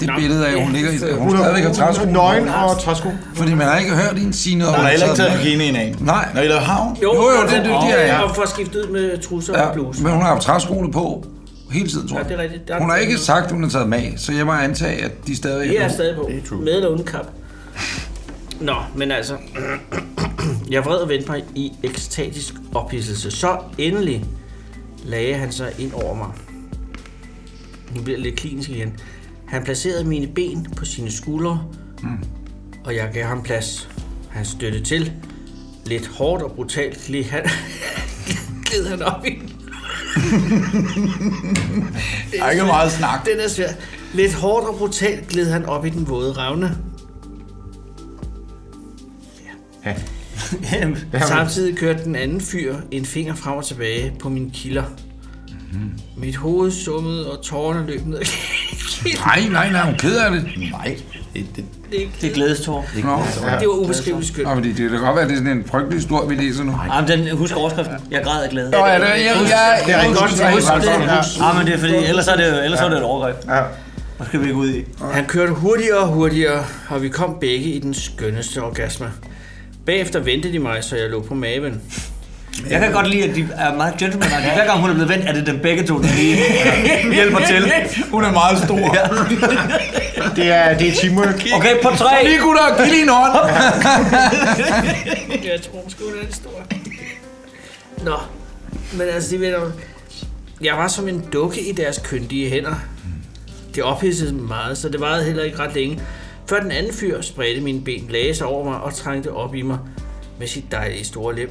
Det Nå, billede af, at ja. hun ligger i, at hun, Hun er stadigvæk har træsko. hun er nøgen og træsko. Fordi man har ikke hørt hende sige noget. om, Der er at hun heller ikke sad taget med. bikinien af. Nej, Når I lavede havn? Jo, jo, det er det, de er. Og for at skifte ud med trusser ja. og ja, bluse. men hun har haft træskoene på hele tiden, tror Ja, jeg. det er rigtigt. Der- Hun har ikke sagt, at hun har taget dem af, så jeg må antage, at de stadig Jeg er stadig på. Med eller uden kap. Nå, men altså... jeg vred og vendte mig i ekstatisk ophidselse. Så endelig lagde han sig ind over mig. Nu bliver det lidt klinisk igen. Han placerede mine ben på sine skuldre, Mm. og jeg gav ham plads. Han støttede til. Lidt hårdt og brutalt gled han, gled han op i Det Der er ikke svært. meget snak. Den er svær. Lidt hårdt og brutalt gled han op i den våde revne. Ja. Jamen, Samtidig kørte den anden fyr en finger frem og tilbage på mine kilder. Mit hoved summede, og tårerne løb ned. Nej, nej, nej, hun er ked af det. Nej. Det, det, Det er glædestår. Det, Nå, det var ubeskriveligt skønt. Nå, men det, det kan godt være, at det er sådan en frygtelig stor, vi læser nu. Nej, men den, husk overskriften. Jeg græd af glæde. Nå, ja, det- jeg- jeg- Husk- jeg- det er rigtig husk- godt. jeg- Husk jeg- det. jeg- Ja, men det er fordi, ellers er det jo ellers er det et overgreb. Ja. Hvad skal vi ikke ud i? Han kørte hurtigere og hurtigere, og vi kom begge i den skønneste orgasme. Bagefter ventede de mig, så jeg lå på maven. Jeg kan godt lide, at de er meget gentleman Hver gang hun er blevet vendt, er det dem begge to, der lige hjælper til. Hun er meget stor. Det er, det er teamwork. Okay, på tre. Lige gutter, giv lige en hånd. jeg tror måske, hun er lidt stor. Nå, men altså, de venner, jeg var som en dukke i deres kyndige hænder. Det ophidsede mig meget, så det varede heller ikke ret længe. Før den anden fyr spredte mine ben, lagde sig over mig og trængte op i mig med sit dejlige store lem.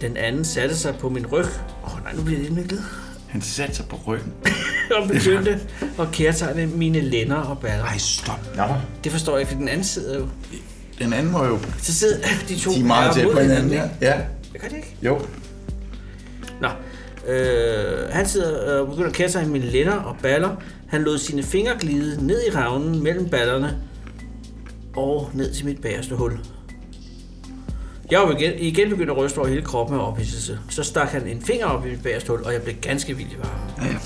Den anden satte sig på min ryg. Åh oh, nej, nu bliver det indviklet. Han satte sig på ryggen. og begyndte at kærtegne mine lænder og baller. Nej, stop. Nå. Det forstår jeg ikke, for den anden sidder jo. Den anden var jo... Så sidder de to De er meget herrer tæt på mod hinanden, ja. ikke? ja. Gør det ikke? Jo. Nå. Øh, han sidder øh, og begynder at kaste sig i mine lænder og baller. Han lod sine fingre glide ned i ravnen mellem ballerne og ned til mit bagerste hul. Jeg var igen, igen begyndt at ryste over hele kroppen af ophidselse. Så stak han en finger op i mit bagerste hul, og jeg blev ganske vild i varmen.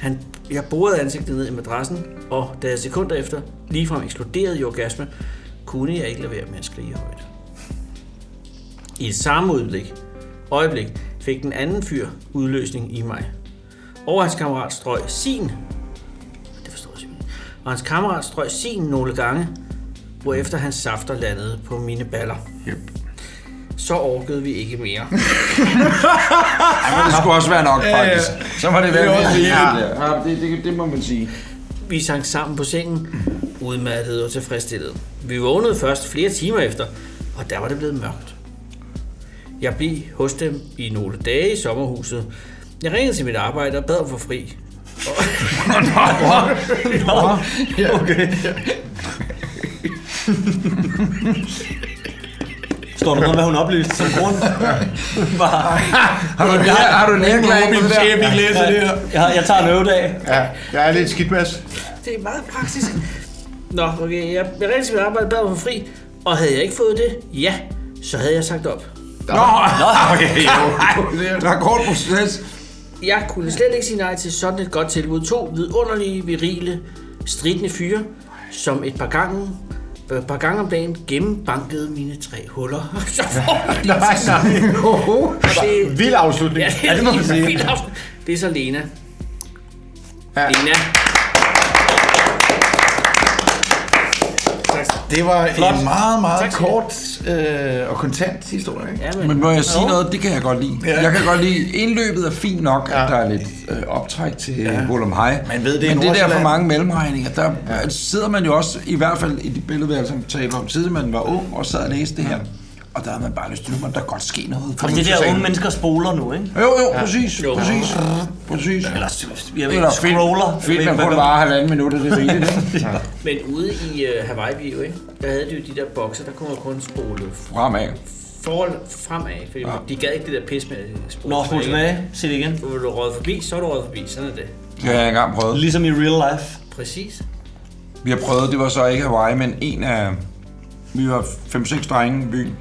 Han, jeg borede ansigtet ned i madrassen, og da jeg sekunder efter ligefrem eksploderede i orgasme, kunne jeg ikke lade være med at skrige højt. I et samme øjeblik, øjeblik fik den anden fyr udløsning i mig. Og hans kammerat strøg sin. Det forstår jeg simpelthen. Og hans kammerat strøg sin nogle gange, hvorefter hans safter landede på mine baller. Yep. Så orkede vi ikke mere. Ej, men det skulle også være nok, faktisk. Så må det være mere. Ja. Ja, det, det, det må man sige. Vi sank sammen på sengen, udmattede og tilfredsstillet. Vi vågnede først flere timer efter, og der var det blevet mørkt. Jeg blev hos dem i nogle dage i sommerhuset. Jeg ringede til mit arbejde og bad om for fri. Og... Ja. Okay. Står der noget, hvad hun oplyste som grund? Bare... Har du en- har du en erklæring på det der? Jeg, jeg tager en øvedag. Ja, jeg er lidt skidt, Mads. Det er meget praktisk. Nå, okay, jeg blev rigtig til mit arbejde, bad om for fri, og havde jeg ikke fået det, ja, så havde jeg sagt op. Nå, Nå okay, jo. Der er kort proces. Jeg kunne slet ikke sige nej til sådan et godt tilbud. To vidunderlige, virile, stridende fyre, som et par gange et par gange om dagen gennembankede mine tre huller. Så får man- Nej, nej. Oho. Vild afslutning. Ja, det er, ja, det, må man sige. det er så Lena. Ja. Lena. Det var Flot. en meget, meget Tak tak, skal du kort øh, og kontant historie. Ikke? Ja, Men må jeg sige noget? Det kan jeg godt lide. Ja. Jeg kan godt lide, indløbet er fint nok, at der er lidt øh, optræk til ja. Volumhej. Man ved, det er Men det der Nordsjælland. for mange mellemregninger, der ja. sidder man jo også, i hvert fald i de billeder, vi som talte om tidligere, man var ung og sad og læste det her. Og der havde man bare lyst til, nu må der godt ske noget. Og det er der unge mennesker spoler nu, ikke? Jo, jo, præcis, præcis, præcis. Eller, jeg ved, Eller Eller fedt- scroller. Jeg fedt, ved, man kun hvad- varer halvanden minut, og det er rigeligt, ikke? Men ude i uh, Hawaii Bio, ikke? der havde de jo de der bokser, der kunne man kun spole Fremad. forhold fremad, fordi ja. de gad ikke det der pis med at spole Nå, spole tilbage. Se det igen. Hvor du røget forbi, så er du røget forbi. Sådan er det. Det har jeg engang prøvet. Ligesom i real life. Præcis. Vi har prøvet, det var så ikke Hawaii, men en af... Vi var 5-6 drenge i byen.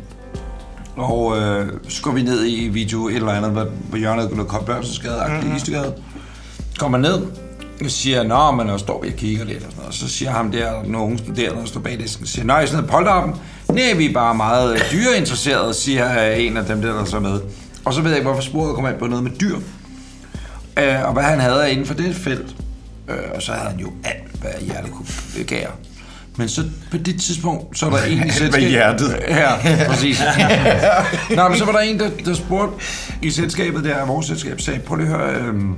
Og øh, så går vi ned i video et eller andet, hvor- hvor hjørnet kunne komme børnseskade, mm-hmm. Istegade. Kommer ned, og siger, nå, men og står vi og kigger lidt og sådan noget. Og så siger ham der, nogle unge studerende, der står bag disken, siger, nej, sådan noget polterappen. Nej, vi er bare meget øh, dyreinteresserede, siger øh, en af dem der, der så er med. Og så ved jeg ikke, hvorfor sporet kommer ind på noget med dyr. Øh, og hvad han havde inden for det felt. Øh, og så havde han jo alt, hvad hjertet kunne begære. Men så på det tidspunkt, så er der en i Med selskabet... hjertet. Ja, præcis. Nå, men så var der en, der, der spurgte i selskabet der, vores selskab sagde, prøv lige at høre, øhm,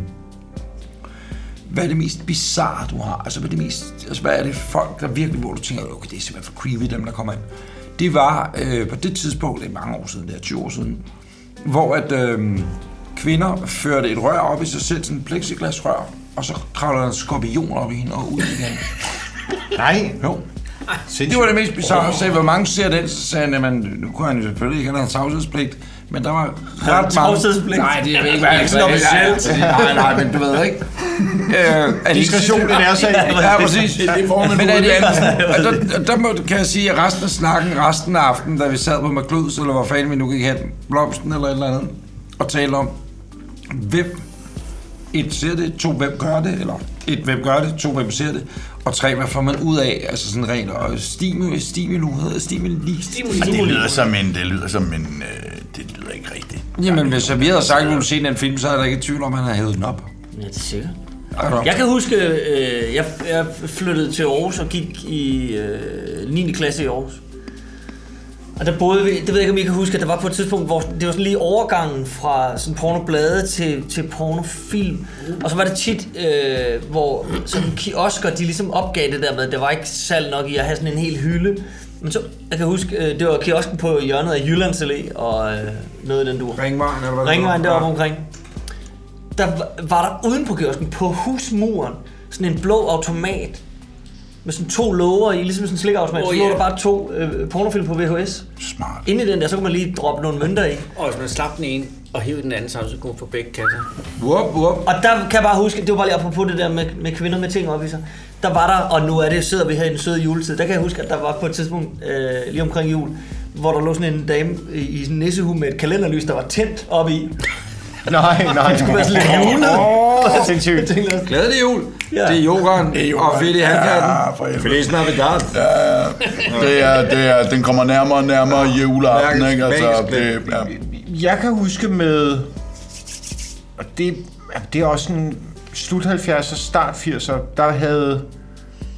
hvad er det mest bizarre, du har? Altså, hvad er det mest... Altså, hvad er det folk, der virkelig, hvor du tænker, okay, det er simpelthen for creepy, dem der kommer ind. Det var øh, på det tidspunkt, det er mange år siden, det er 20 år siden, hvor at øh, kvinder førte et rør op i sig selv, sådan et plexiglasrør, og så kravlede der en skorpion op i hende og ud igen. Nej. Jo. Det var det mest bizarre. Så sagde, hvor mange ser den? Så sagde han, jamen, nu kunne han jo selvfølgelig ikke have en tavshedspligt. Men der var Havde han ret mange... tavshedspligt? Nej, det er ikke, hvad Ikke han sådan sagde. officielt. Nej, nej, men du ved ikke. Øh, er det- Diskretion i nærsag. Ja, præcis. Det er det, formanden Men er det udlægger. andet? Og der, der må, kan jeg sige, at resten af snakken, resten af aftenen, da vi sad på McLuds, eller hvor fanden vi nu gik hen, blomsten eller et eller andet, og talte om, hvem et ser det, to hvem gør det, eller et hvem gør det, to hvem ser det, og tre hvad får man ud af, altså sådan rent, og stimu, stimulu hedder stimuli. Stimuli. Og det lyder som en, det lyder som en, øh, det lyder ikke rigtigt. Jamen, hvis vi havde sagt, at vi ville se den film, så er der ikke i tvivl om, at han havde hævet den op. Ja, det er sikkert. Altså. Jeg kan huske, øh, jeg, jeg flyttede til Aarhus og gik i øh, 9. klasse i Aarhus. Og der boede vi, det ved jeg ikke om I kan huske, at der var på et tidspunkt, hvor det var sådan lige overgangen fra sådan pornoblade til, til pornofilm. Og så var det tit, øh, hvor sådan kiosker, de ligesom opgav det der med, at der var ikke salg nok i at have sådan en hel hylde. Men så, jeg kan huske, øh, det var kiosken på hjørnet af Jyllands Allé og øh, noget i den dur. Ringvejen, eller hvad Ringvejen det var? deroppe omkring der var- var der uden på kiosken, på husmuren, sådan en blå automat med sådan to låger i, ligesom sådan en slikautomat. Oh, Åh, yeah. Så lå ja. der bare to øh, pornofilm på VHS. Smart. Inde i den der, så kunne man lige droppe nogle mønter i. Og hvis man slap den ene og hiv den anden sammen, så kunne man få begge kasser. Wup, wup. Og der kan jeg bare huske, det var bare lige apropos det der med, med kvinder med ting op i sig. Der var der, og nu er det, sidder vi her i den søde juletid, der kan jeg huske, at der var på et tidspunkt, øh, lige omkring jul, hvor der lå sådan en dame i i sådan en nissehue med et kalenderlys, der var tændt op i. Nej, nej. Det skulle være sådan lidt julet. Åh, sindssygt. Glædelig jul. Ja. Det er yoghurt og fedt i handkatten. Feliz Navidad. Det er, det er, den kommer nærmere og nærmere juleaften, Mærkes- ikke? Altså, mærkes- det, ja. Jeg kan huske med... Og det, det er også en slut 70'er, start 80'er, der havde...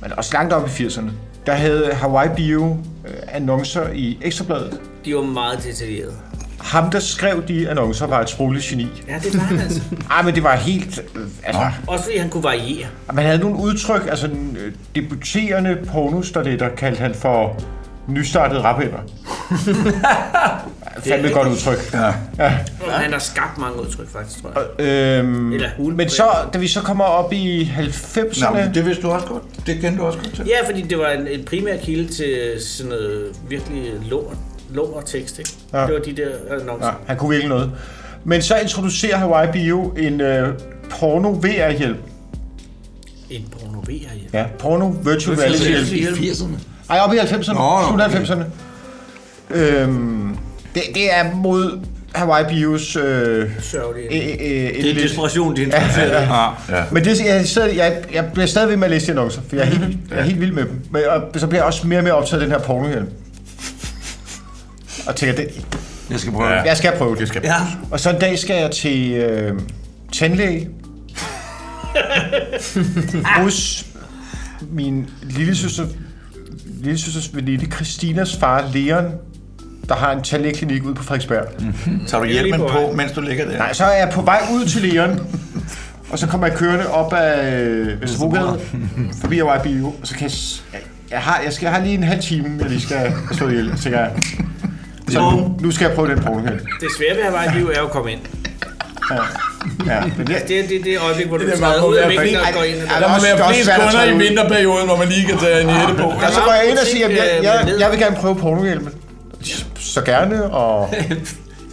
Men også langt op i 80'erne. Der havde Hawaii Bio øh, annoncer i Ekstrabladet. De var meget detaljerede. Ham, der skrev de annoncer, var et sprogligt geni. Ja, det var han altså. Ej, men det var helt... øh, Altså, Også fordi han kunne variere. man havde nogle udtryk, altså den, øh, debuterende pornostarletter kaldte han for nystartede rapper. Fandme et godt udtryk. Ja. ja. Og han har skabt mange udtryk, faktisk, tror jeg. Øhm, Eller men så, da vi så kommer op i 90'erne... Nå, men det vidste du også godt. Det kendte du også godt Ja, fordi det var en, en primær kilde til sådan noget virkelig lort, lort tekst, ikke? Ja. Ja. Det var de der øh, annoncer. Ja, Ja. han kunne virkelig noget. Men så introducerer Hawaii Bio en øh, porno VR-hjælp. En porno VR, ja. Ja, porno virtual reality hjælp. Ej, op i 90'erne. Nå, nå, Slut 90'erne. Øhm, det, det er mod Hawaii Bios... Øh, e, Sørgelige. det desperation, de introducerer. Ja, ja. Ja. Men det, jeg, sidder, jeg, jeg bliver stadig ved med at læse de annoncer, for jeg er helt, jeg er helt vild med dem. Men, og, så bliver jeg også mere og mere optaget af den her pornohjelm. Og tænker, det, Jeg skal prøve det. jeg skal prøve det. skal Ja. Og så en dag skal jeg til øh, tandlæge. Hos min lille søster, lille søsters veninde Christinas far, Leon, der har en tandlægeklinik ude på Frederiksberg. Tager du hjelmen på, mens du ligger der? Nej, så er jeg på vej ud til Leon. Og så kommer jeg kørende op ad øh, Vesterbrogade, forbi Hawaii Bio, og så kan jeg... s- jeg- Jeg har, jeg, skal, jeg har lige en halv time, jeg lige skal slå ihjel, tænker jeg. Så nu, nu skal jeg prøve den porno her. Det svære ved at være i liv er jo at komme ind. Ja. Ja, men det, det, det, det øjeblik, hvor du Det er træder meget ud af godt, mængden jeg og går fik- ind. Ej, der må også- være det er også flest svært at kunder tage i ud. vinterperioden, hvor man lige kan tage en hætte på. Og så går jeg ind og siger, at jeg, jeg, øh, jeg vil gerne prøve porno hjælpen. Så gerne, og...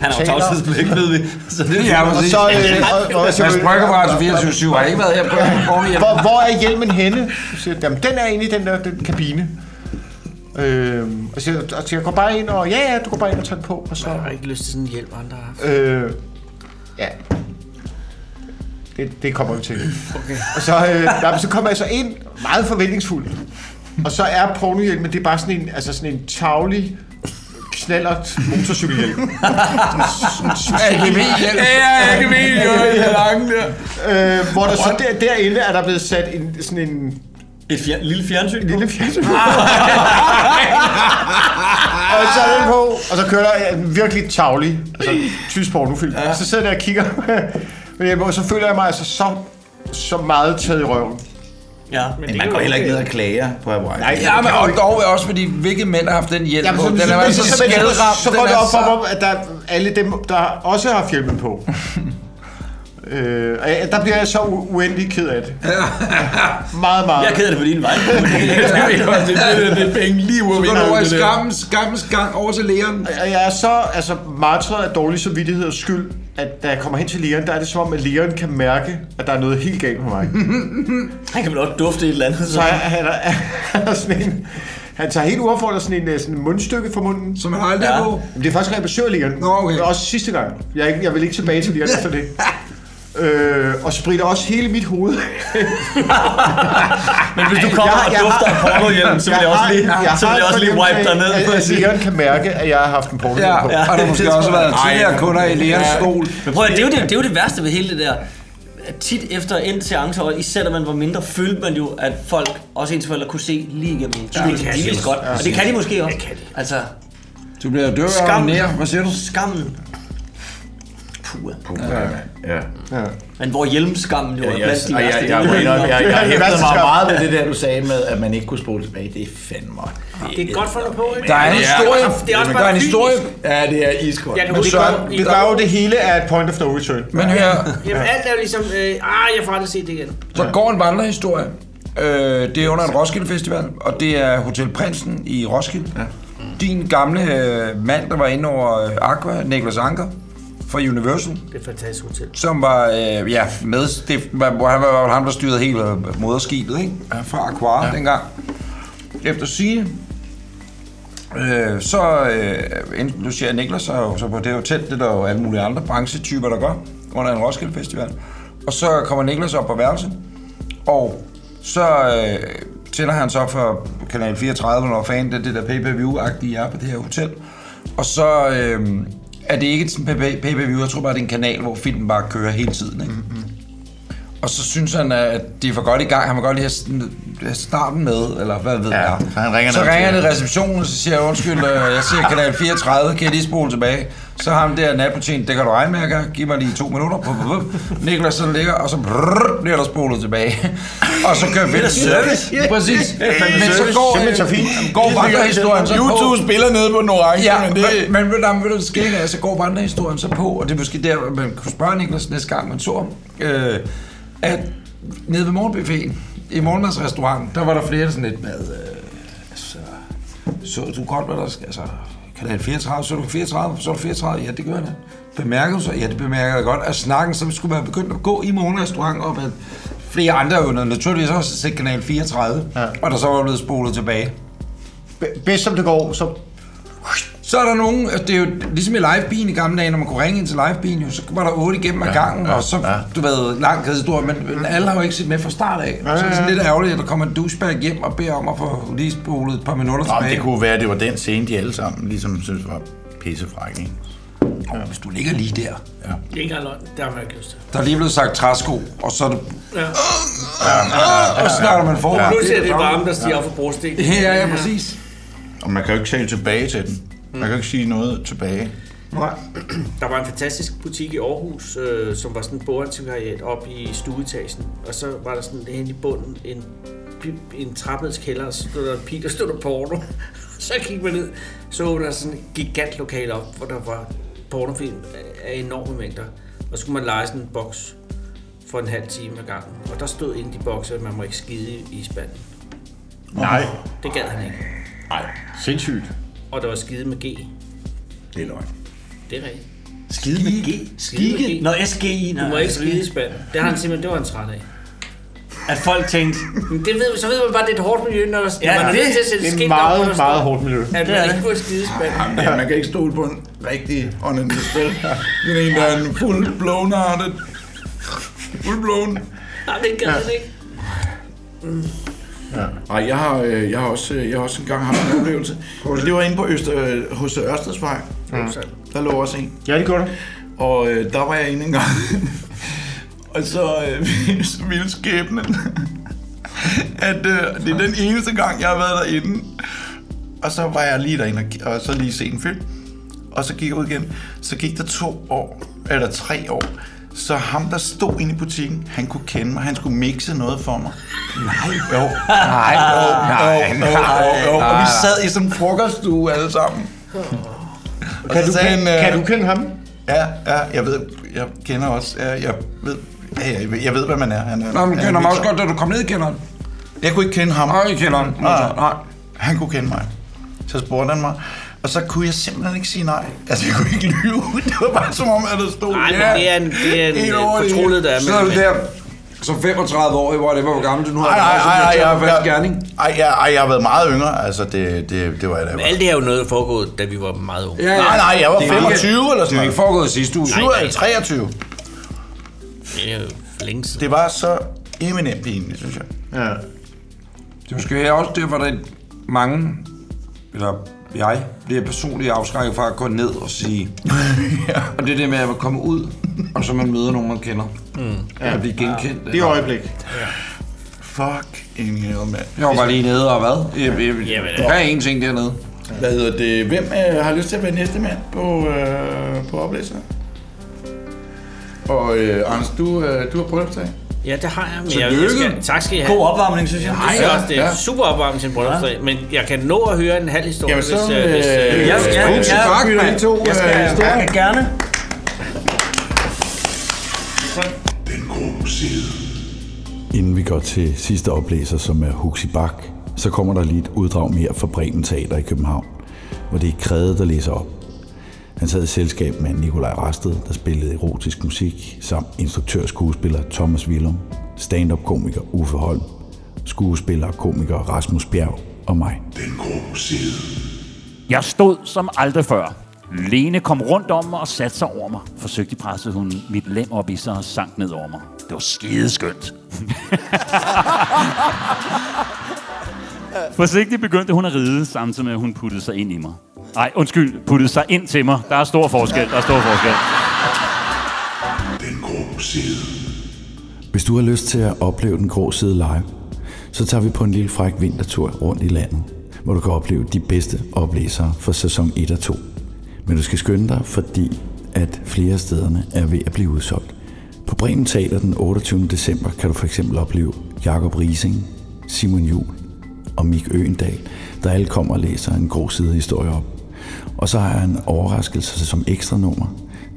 Han har jo Taler. tavshedspligt, ved vi. Så det er Ja, præcis. Og så, øh, og- og- og- Mads Brygger fra altså Radio 24 har ikke været her på Bornholm. Hvor, hvor er hjelmen henne? Så siger, jeg, jamen, den er inde i den der den kabine. Øhm, og så siger, jeg- og så siger jeg, gå bare ind, og ja, ja, du går bare ind og tager den på, og så... Jeg har ikke lyst til sådan en hjælp, andre har. Øh, ja. Det, det kommer vi til. Okay. Og så, øh, nej, men så kommer jeg så ind, meget forventningsfuld. Og så er pornohjelmen, det er bare sådan en, altså sådan en tavlig knallert motorcykelhjelm. AGV-hjelm. AGV-hjelm, Øh, hvor der så der, derinde er der blevet sat en, sådan en Et fjer- lille fjernsyn? Lille fjernsyn. og så er den på, og så kører der øh, virkelig tavlig, altså tysk pornofilm. Ja. Så sidder jeg der og kigger, men jeg, og så føler jeg mig altså så, så meget taget i røven. Ja, Men det er jo okay. klager på Hawaii. Nej, ja, men det kan og jo ikke. dog også, fordi hvilke mænd har haft den hjælp Jamen, på. så, Den så, er jo så, altså så, skaldramt. så, så Den går det er op så- for mig, at der, alle dem, der også har haft hjelmen på, øh, og jeg- der bliver jeg så u- uendelig ked af det. meget, meget. Jeg er ked af det på din vej. penge lige ud af Så går vinduet, det over i det der. skammens, skammens gang over til lægeren. Og Jeg er så altså, martret af dårlig samvittighed og skyld, at da jeg kommer hen til lægeren, der er det som om, at lægeren kan mærke, at der er noget helt galt med mig. Han kan vel også dufte et eller andet. Så han, han, er, han er sådan en... Han tager helt uaffordret sådan en, øh, sådan en mundstykke fra munden. Som han aldrig ja. på. Men det er faktisk, når jeg besøger ligeren. Nå, okay. Også sidste gang. Jeg, er ikke, jeg vil ikke tilbage til ligeren efter det. Øh, og spritter også hele mit hoved. Men hvis du kommer og dufter af pornohjelm, så vil jeg også lige, så vil jeg også lige wipe dig ned. At ligeren kan mærke, at jeg har haft en pornohjelm på. Men prøv at, det, er jo det, det er jo det værste ved hele det der. At tit efter en seance, og især da man var mindre, følte man jo, at folk, også ens forældre, kunne se lige igennem. Ja, det, de kan de vidste også. godt, Ja. og det kan de måske også. Altså, Du bliver dør Skam. og nær. Hvad siger du? Skammen. Puh. Puh. Ja. ja. Men hvor hjelmskammen jo Ja, er jeg, blandt de jeg, jeg, værste. jeg, jeg, jeg, jeg, jeg Det er hæftede værste mig skam. meget ved det der, du sagde med, at man ikke kunne spole tilbage. Det er fandme... Det er godt for dig på, ikke? Der er en Det historie. også- Det er også Der bare er en fysisk. historie. Ja, det er iskoldt. Jeg kan Men huske, Søren, i vi går- gør jo det hele af et point of no return. Men hør, Jamen, alt er jo ligesom, øh, ah, jeg får aldrig set det igen. Der går en vandrehistorie. Øh, det er under en Roskilde Festival, og det er Hotel Prinsen i Roskilde. Ja. Din gamle øh, mand, der var inde over øh, Aqua, Niklas Anker fra Universal, Det er et fantastisk hotel. som var øh, ja, med, det, var- hvor han var ham, der styrede hele øh, moderskibet ikke? fra Aqua ja. dengang. Efter sige, øh, så øh, endte- nu siger jeg Niklas så, jo- så på det hotel, det er der jo alle mulige andre branchetyper, der gør under en Roskilde Festival. Og så kommer Niklas op på værelset, og så øh, tænder han så for kanal 34, når fanden det, det der pay-per-view-agtige er på det her hotel. Og så øh, er det ikke sådan pay- pay-per-view, jeg tror bare, det er en kanal, hvor filmen bare kører hele tiden. Ikke? Mm-hmm. Og så synes han, at det er for godt i gang. Han vil godt lige have sådan- have starten med, eller hvad ved ja, jeg. Så han ringer så ned til- ringer han i receptionen, og så siger jeg, undskyld, øh, jeg ser kanal 34, kan jeg lige spole tilbage? Så har han der natbetjent, det kan du regne med, jeg kan. Giv mig lige to minutter. Bup, bup, bup. Niklas så ligger, og så brrr, bliver der spolet tilbage. og så kører vi. Det er da service. Præcis. Det er fandme Men så service. går, Simpelthen så fint. øh, går vandrehistorien så på. YouTube spiller nede på den orange, ja, men men det- det... Men, men, men, men det skægge er, så går vandrehistorien så på, og det er måske der, man kunne spørge Niklas næste gang, man så ham, øh, at nede ved morgenbuffeten, i morgenmadsrestauranten, der var der flere der sådan lidt med, øh, altså, så du godt, hvad der skal, altså, kan det 34, så er du 34, så er du 34, ja, det gør jeg da. Bemærker du så? Ja, det bemærker jeg godt. At snakken, så skulle være begyndt at gå i morgenrestauranten, og at flere andre jo naturligvis også har set kanal 34, ja. og der så var blevet spolet tilbage. Bedst som det går, så så er der nogen, altså det er jo ligesom i livebyen i gamle dage, når man kunne ringe ind til livebyen, jo, så var der otte igennem ad gangen, og så, du ved, lang kassestor, men, men alle har jo ikke set med fra start af. Så er det sådan lidt ærgerligt, at der kommer en douchebag hjem og beder om at få lige spolet et par minutter Nå, men tilbage. det kunne være, at det var den scene, de alle sammen ligesom synes var pissefræk, ikke? Ja. Hvis du ligger lige der. Ja. Det er ikke engang løgn. Det har man ikke lyst til. Der er lige blevet sagt træsko, og så er det... Ja. Og så snakker man for. Ah, Ja. Nu ser det varme, der stiger op fra brosten. Ja, ja, præcis. Og man kan jo ikke tale tilbage til den. Man kan jo ikke sige noget tilbage. Nej. Der var en fantastisk butik i Aarhus, øh, som var sådan et bogantikvariat op i stueetagen. Og så var der sådan hen i bunden en, pi- en trappedskælder, og så stod der en pige, der stod der porno. så gik man ned, så var der sådan et gigant lokal op, hvor der var pornofilm af- af enorme mængder. Og så skulle man lege sådan en boks for en halv time ad gangen. Og der stod inde i de bokser, at man må ikke skide i- i spanden. Nej. Det gad han ikke. Nej. Sindssygt. Og der var skide med G. Det er løgn. Det er rigtigt. Skide med G. Skide? Nå, SGI. Du må ikke skide i spand. Det har han simpelthen, det var han træt af. At folk tænkte... Men det ved, så ved man bare, at det er et hårdt miljø, når der Ja, når man det- nødt til at sætte det er skilt meget, op, når der meget står, hårdt miljø. At Det er man ikke det. får et skidespand. Jamen, det er- man kan ikke stole på en rigtig on in the spil. Det er en, der er en full blown hearted. Full blown. Nej, det gad han ikke. Ja. Ej, jeg har, øh, jeg har også, øh, jeg har også engang haft en oplevelse. Men det var inde på Øster, øh, hos Ørstedsvej. Mm. Der lå også en. Ja, det gjorde der. Og øh, der var jeg inde engang. og så, øh, så ville skæbnen, at øh, det er den eneste gang, jeg har været derinde. Og så var jeg lige derinde og, og så lige se en film. Og så gik jeg ud igen. Så gik der to år, eller tre år. Så ham, der stod inde i butikken, han kunne kende mig. Han skulle mixe noget for mig. Nej. Jo. Nej, jo, Nej, jo, jo, jo, jo. Og nej. Ah. vi sad i sådan en frokoststue alle sammen. Og Kan så du sagde øh, kende- kan øh, du kende ham? Ja, ja, jeg ved, jeg kender også, ja, jeg ved, ja, jeg, ved, jeg ved, hvad man er. Han, er- Nå, men han er kender mig også mixer. godt, da du kom ned i kælderen. Jeg kunne ikke kende ham. Nej, ikke kender ham. Nej, nej. Han kunne kende mig. Så spurgte han mig, og så kunne jeg simpelthen ikke sige nej. Altså, jeg kunne ikke lyve. Det var bare som om, at der stod... Nej, men ja, det er en- det er en, en øh, over det hele. fortrolighed, der er Så mellem- er det der. Som 35 år, hvor det var, hvor gammel du nu har. Ej, ej, ej, ej, jeg, jeg, jeg, jeg, ej, jeg, ej, jeg har været meget yngre. Altså, det, det, det var jeg da. Men alt det her er jo noget, der foregået, da vi var meget unge. Nej, nej, jeg var 25 eller sådan Det er ikke foregået sidste uge. 20 eller 23. Det er jo for længe siden. Det var så eminent pinligt, synes jeg. Ja. Det er måske også det, hvor der er mange, eller jeg, bliver personligt afskrækket fra at gå ned og sige. ja. Og det er det med at komme ud, og så man møder nogen, man kender. Mm. Ja. At blive genkendt. Det er øjeblik. Fucking hell, mand. Jeg var bare lige nede og hvad? Jeg, jeg, ja. hvad er en ting dernede? Hvad hedder det? Hvem øh, har lyst til at være næste mand på, øh, på oplæseren? Og øh, Anders, du, øh, du har bryllupsdag. Ja, det har jeg. Men jeg, Tillykke. jeg skal, tak skal I have. God opvarmning, synes jeg. Nej, jeg Ja, synes også, det er ja. ja. super opvarmning til en bryllupsdag. Ja. Men jeg kan nå at høre en halv historie, Jamen, så, hvis... øh, hvis øh, jeg- øh, jeg- jeg- Fuck, bytter mand. I to, jeg skal, øh, historier. jeg, gerne. Inden vi går til sidste oplæser, som er Huxi Bak, så kommer der lige et uddrag mere fra Bremen Teater i København, hvor det er Krede, der læser op. Han sad i selskab med Nikolaj Rasted, der spillede erotisk musik, samt instruktør-skuespiller Thomas Willum, stand-up-komiker Uffe Holm, skuespiller og komiker Rasmus Bjerg og mig. Den grå side. Jeg stod som aldrig før. Lene kom rundt om mig og satte sig over mig. Forsøgte pressede hun mit lem op i sig og sank ned over mig. Det var skideskønt. Forsigtigt begyndte hun at ride, samtidig med at hun puttede sig ind i mig. Nej, undskyld, puttede sig ind til mig. Der er stor forskel, der er stor forskel. Den grå side. Hvis du har lyst til at opleve den grå side live, så tager vi på en lille fræk vintertur rundt i landet, hvor du kan opleve de bedste oplæsere fra sæson 1 og 2. Men du skal skynde dig, fordi at flere af stederne er ved at blive udsolgt. På Bremen Teater den 28. december kan du for eksempel opleve Jakob Rising, Simon Jul og Mik Øendal, der alle kommer og læser en grå side historie op. Og så har jeg en overraskelse som ekstra nummer.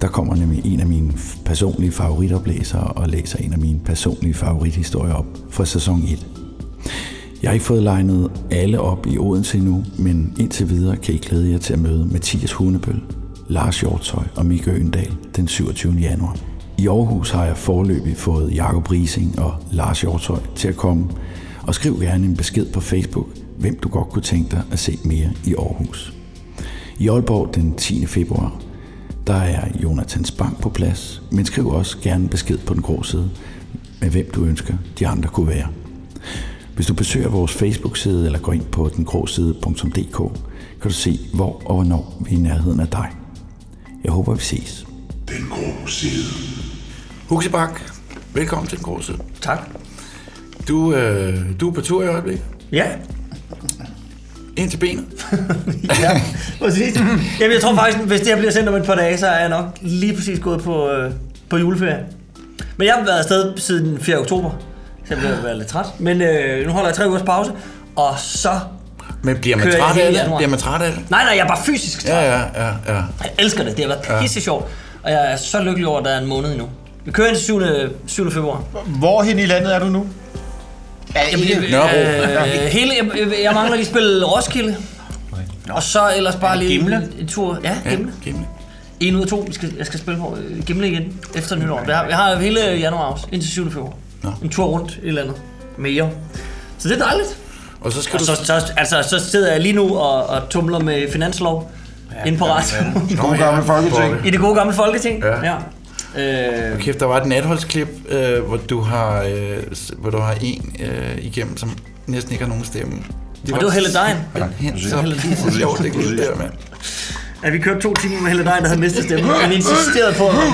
Der kommer nemlig en af mine f- personlige favoritoplæsere og læser en af mine personlige favorithistorier op fra sæson 1. Jeg har ikke fået legnet alle op i Odense endnu, men indtil videre kan I glæde jer til at møde Mathias Hunebøl, Lars Hjortøj og Mikke Øendal den 27. januar. I Aarhus har jeg forløbig fået Jakob Rising og Lars Hjortøj til at komme, og skriv gerne en besked på Facebook, hvem du godt kunne tænke dig at se mere i Aarhus. I Aalborg den 10. februar, der er Jonathan Spang på plads, men skriv også gerne en besked på den grå side, med hvem du ønsker de andre kunne være. Hvis du besøger vores Facebook-side eller går ind på dengroside.dk, kan du se, hvor og hvornår vi er i nærheden af dig. Jeg håber, vi ses. Den grå side. Huxi Bak, velkommen til den grå side. Tak. Du, øh, du er på tur i øjeblikket. Ja. Ind til benet. ja. Præcis. Jamen, jeg tror faktisk, hvis det her bliver sendt om et par dage, så er jeg nok lige præcis gået på, øh, på juleferie. Men jeg har været afsted siden den 4. oktober, så jeg bliver været lidt træt. Men øh, nu holder jeg tre ugers pause, og så Men bliver man kører jeg træt hele af det? januar. Bliver man træt af det? Nej, nej, jeg er bare fysisk træt. Ja, ja, ja, ja. Jeg elsker det. Det har Ja. været pisse sjovt. Og jeg er så lykkelig over, at der er en måned endnu. Vi kører ind til 7. 7. februar. Hvor hen i landet er du nu? Jamen, hele- øh, Nørrebro. øh, hele, jeg, jeg mangler lige at spille Roskilde. Og så ellers bare lige en, en tur. Ja, Gimle. Gimle. En ud af to. Jeg skal, jeg skal spille på øh, Gimle igen efter nytår. Jeg har, jeg har hele januar også, indtil 7. februar. En tur rundt i landet. Mere. Så det er dejligt. Og så, skal og du- så, så, altså, så sidder jeg lige nu og, og tumler med finanslov ja, inde på radioen. Gode gamle Folketing. I det gode gamle folketing. Ja. ja. Øh... Og kæft, der var et natholdsklip, øh, hvor, du har, øh, s- hvor du har en øh, igennem, som næsten ikke har nogen stemme. Det og det var Helle Dejen. simpelthen Det så var Helle Dejen. sjovt, det klip der, mand. At vi kørte to timer med Helle Dejen, der havde mistet stemmen. Han insisterede på at være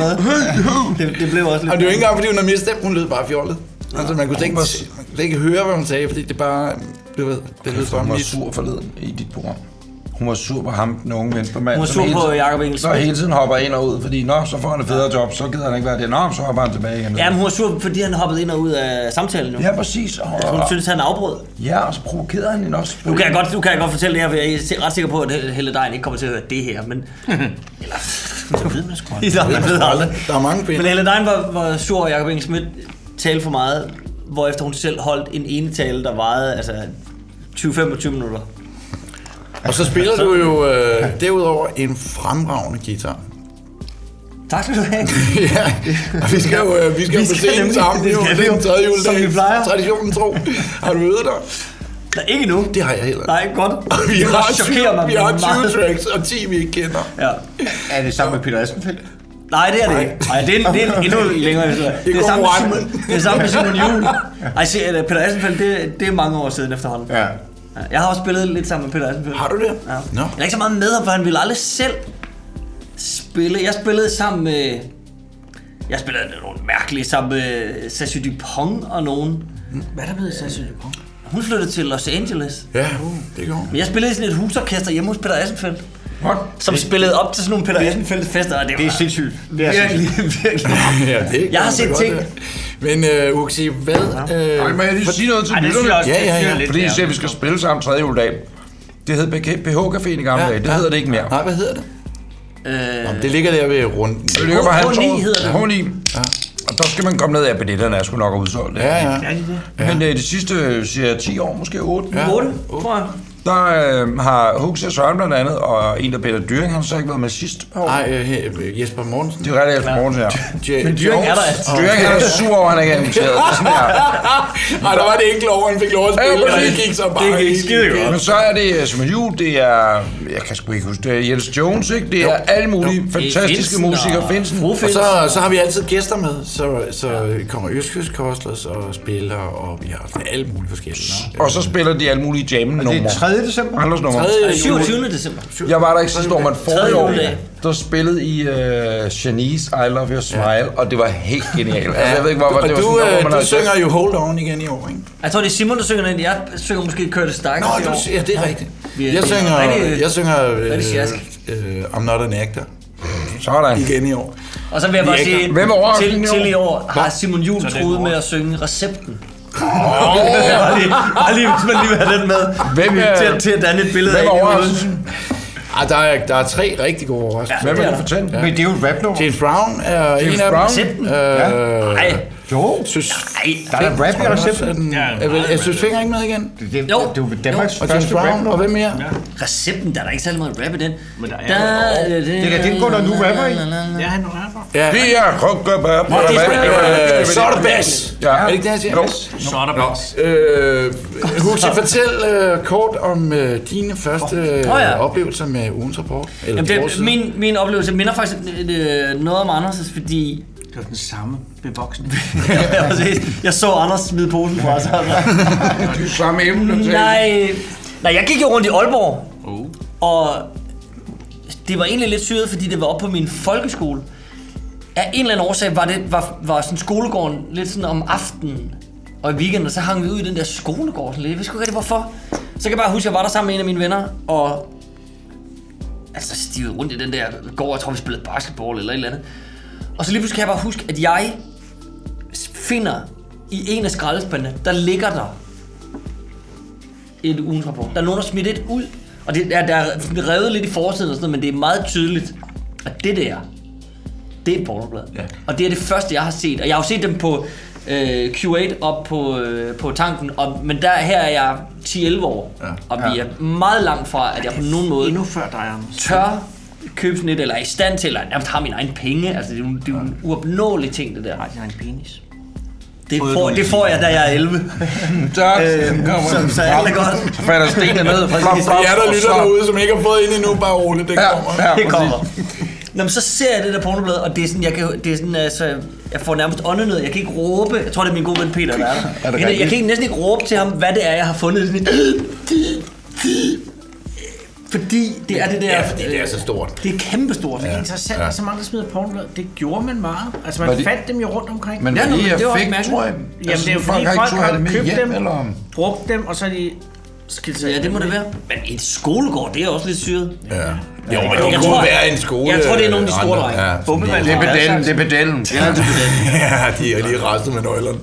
med. Det, det blev også lidt... Og det er jo ikke engang, fordi hun har mistet, hun lød bare fjollet. Altså, man kunne slet ikke, man kunne slet ikke høre, hvad hun sagde, fordi det bare, du ved, det lød for som Altså, hun var lidt... sur forleden i dit program. Hun var sur på ham, den unge venstremand. Hun var som sur hele på tiden- Jacob Engels- Der hele tiden hopper ind og ud, fordi nå, så får han et federe job, så gider han ikke være det. Nå, så hopper han tilbage igen. Ja, men hun var sur, fordi han hoppede ind og ud af samtalen nu. Ja, præcis. Og, Hun synes, han afbrød. Ja, og så provokerede han hende også. Nu kan, jeg godt, nu kan jeg godt fortælle det her, for jeg er ret sikker på, at Helle Dejen ikke kommer til at høre det her, men... Eller... Det ved man sgu aldrig. Man ved aldrig. Der er mange ben. Men Helle Dejen var, var sur, og Jacob Engel Schmidt talte for meget, hvorefter hun selv holdt en ene tale, der varede altså 20-25 minutter. Og så spiller du jo øh, derudover en fremragende guitar. Tak skal du have. ja, og vi skal jo, øh, vi skal vi på scenen nemlig- sammen, det jo, skal det er vi en jo, tredje som vi juledag, plejer. traditionen tro. Har du øvet dig? Nej, ikke nu. Det har jeg heller. Nej, godt. Og vi Det har, chokerer 20, mig vi har 20 meget. tracks, og 10 vi ikke kender. Ja. Er det sammen med Peter Assenfeldt? Nej, det er det ikke. Nej, det er, en- det er en endnu længere historie. Det er det samme med konkurrent. Simon, det er samme med Simon Juhl. Ej, se, eller Peter Assenfeldt, det, det er mange år siden efterhånden. Ja. Jeg har også spillet lidt sammen med Peter Assenfeldt. Har du det? Ja. No. Jeg er ikke så meget med ham, for han ville aldrig selv spille. Jeg spillede sammen med... Jeg spillede nogle mærkelige sammen med Sassy Dupont og nogen. Øh, Hvad er der blevet Sassy Dupont? Hun flyttede til Los Angeles. Ja, det gjorde Men jeg spillede i sådan et husorkester hjemme hos Peter Assenfeldt. What? Som spillede op til sådan nogle Peter Assenfeldt fester, og det, det er sindssygt. Det er virkelig, virkelig. ja, det jeg har set ting. Men øh, Uxie, hvad... Øh, Nej, men jeg lige sige noget til lytterne. Ja, ja, ja. Fordi I siger, at vi skal spille sammen tredje juledag. Det hed PH Caféen i gamle Ja, dage. Det ja. hedder det ikke mere. Nej, hvad hedder det? Øh... Nå, men det ligger der ved runden. Det ligger på halvtorvet. H9. Ja. Og der skal man komme ned af, billetterne er sgu nok udsolgt. Ja, ja. Er de det? Men øh, de sidste siger 10 år, måske 8. Ja. 8, tror jeg. Der øh, har Huxi og Søren blandt andet, og en der Peter Dyring, han har så ikke været med sidste år. Nej, øh, øh, Jesper Mortensen. Det er rigtigt, Jesper Mortensen, ja. Ja, Men Dyring er der Jones- altså. Dyring han er sur over, at han ikke er inviteret. Det er sådan, Nej, der var det ikke lov, han fik lov at Ja, spille, og det præcis. gik så bare helt galt. Men så er det øh, som en jul, det er, jeg kan sgu ikke huske, det er Jens Jones, ikke? Det er alle mulige fantastiske musikere, Finsen. Og så, så har vi altid gæster med, så, så kommer Østkyst Kostlers og spiller, og vi har alle mulige forskellige. Og så spiller de alle mulige jamen numre. det er 3. december? Anders numre. 27. december. Jeg var der ikke sidste år, men forrige Tredje år, juledag. der spillede I uh, Janice, I Love Your Smile, og det var helt genialt. Altså, jeg ved ikke, hvorfor og det var du, sådan, øh, man du altså- har- synger jo Hold On igen i år, ikke? Jeg tror, det er Simon, der synger den. Jeg synger måske Curtis Stark. Nå, du, ja, det er rigtigt. Jeg synger, jeg synger øh, øh, I'm Not An Actor. Sådan. Igen i år. Og så vil jeg bare Lækker. sige, Hvem er overrasket til, i år? til i år har Simon Juhl Så det er troet en med at synge recepten. bare, lige, bare lige, hvis man lige vil have den med. Hvem er- til, til at danne et billede hvem er af en i overrasket? hovedet. Ah, der, er, der er tre rigtig gode overraskelser. Ja, Hvem er det er fortælle? Ja. Men det er jo et rapnummer. James Brown er James en af Brown? dem. Recepten? Øh, Ja. Jo. Synes, Nej, der er da rap i recepten. Jeg, vil, jeg synes, Finger ikke med igen. det- Jo. det er jo Danmarks Og James første Brown, rapnummer. og hvem mere? Recepten, der er der ikke særlig meget rap i den. Men der er- Det er da den går, når du rapper, ikke? Ja, han rapper. Ja. Det er krukkebær. Nå, det er øh, Så er der bas. Ja. Er det ikke det, han siger? Jo. Så er der bas. Øh, Huxi, fortæl øh, kort om øh, dine første øh, Åh, ja. oplevelser med ugens rapport. Eller Jamen, vores det, side. min, min oplevelse minder faktisk øh, noget om Anders', fordi... Det var den samme bevoksning. ja, præcis. jeg så Anders smide posen fra sig. Det er samme emne. Nej, nej, jeg gik jo rundt i Aalborg, og det var egentlig lidt syret, fordi det var op på min folkeskole. Af en eller anden årsag var, det, var, var sådan skolegården lidt sådan om aftenen og i weekenden, og så hang vi ud i den der skolegård sådan lidt. Jeg ved sgu ikke rigtig, hvorfor. Så kan jeg bare huske, at jeg var der sammen med en af mine venner, og altså stivede rundt i den der gård, jeg tror, vi spillede basketball eller et eller andet. Og så lige pludselig kan jeg bare huske, at jeg finder i en af skraldespandene, der ligger der et ugens rapport. Der er nogen, der har smidt et ud, og det er, der er revet lidt i forsiden og sådan noget, men det er meget tydeligt, at det der, det er et pornoblad. Ja. Og det er det første, jeg har set. Og jeg har jo set dem på øh, Q8 op på, øh, på tanken, og, men der her er jeg 10-11 år, ja. og vi Ja. er meget langt fra, at jeg på nogen måde Endnu før dig, Anders. tør købe sådan et, eller er i stand til, eller nærmest har min egen penge. Altså, det er jo, det er jo en uopnåelig ting, det der. Har din egen penis? Det Prøvede får, du det en får jeg, penis? da jeg er 11. Tak. Øh, så, så alt er godt. Så falder stenene ned. Præcis. Flop, flop, Ja, der og lytter så- derude. Ud, som ikke har fået ind endnu, bare roligt, det Ja, kommer. ja, det kommer. Nå, men så ser jeg det der pornoblad, og det er sådan, jeg, kan, det er sådan, altså, jeg får nærmest åndenød. Jeg kan ikke råbe. Jeg tror, det er min gode ven Peter, der er der. Er jeg, det jeg rigtigt? kan ikke, næsten ikke råbe til ham, hvad det er, jeg har fundet. Sådan et, Fordi det er det der... Ja, fordi det er så stort. Det er kæmpestort. Det er interessant, ja. så mange, der smider pornolad. Det gjorde man meget. Altså, man Var det- fandt dem jo rundt omkring. Men var nå, de det også effekt, mærkeligt. tror jeg? Jamen, Altså, det er jo folk fordi, har ikke folk taget det har med købt hjem, dem, eller? brugt dem, og så er de skilt sig. Ja, det må det være. Men et skolegård, det er også lidt syret. Ja. Jo, men det kunne være en skole, Jeg tror, det er nogle af de store andre. drenge. Ja, Bombevand. det er pedellen, det er pedellen. Ja, det er pedellen. ja, de er lige rastet med nøglerne.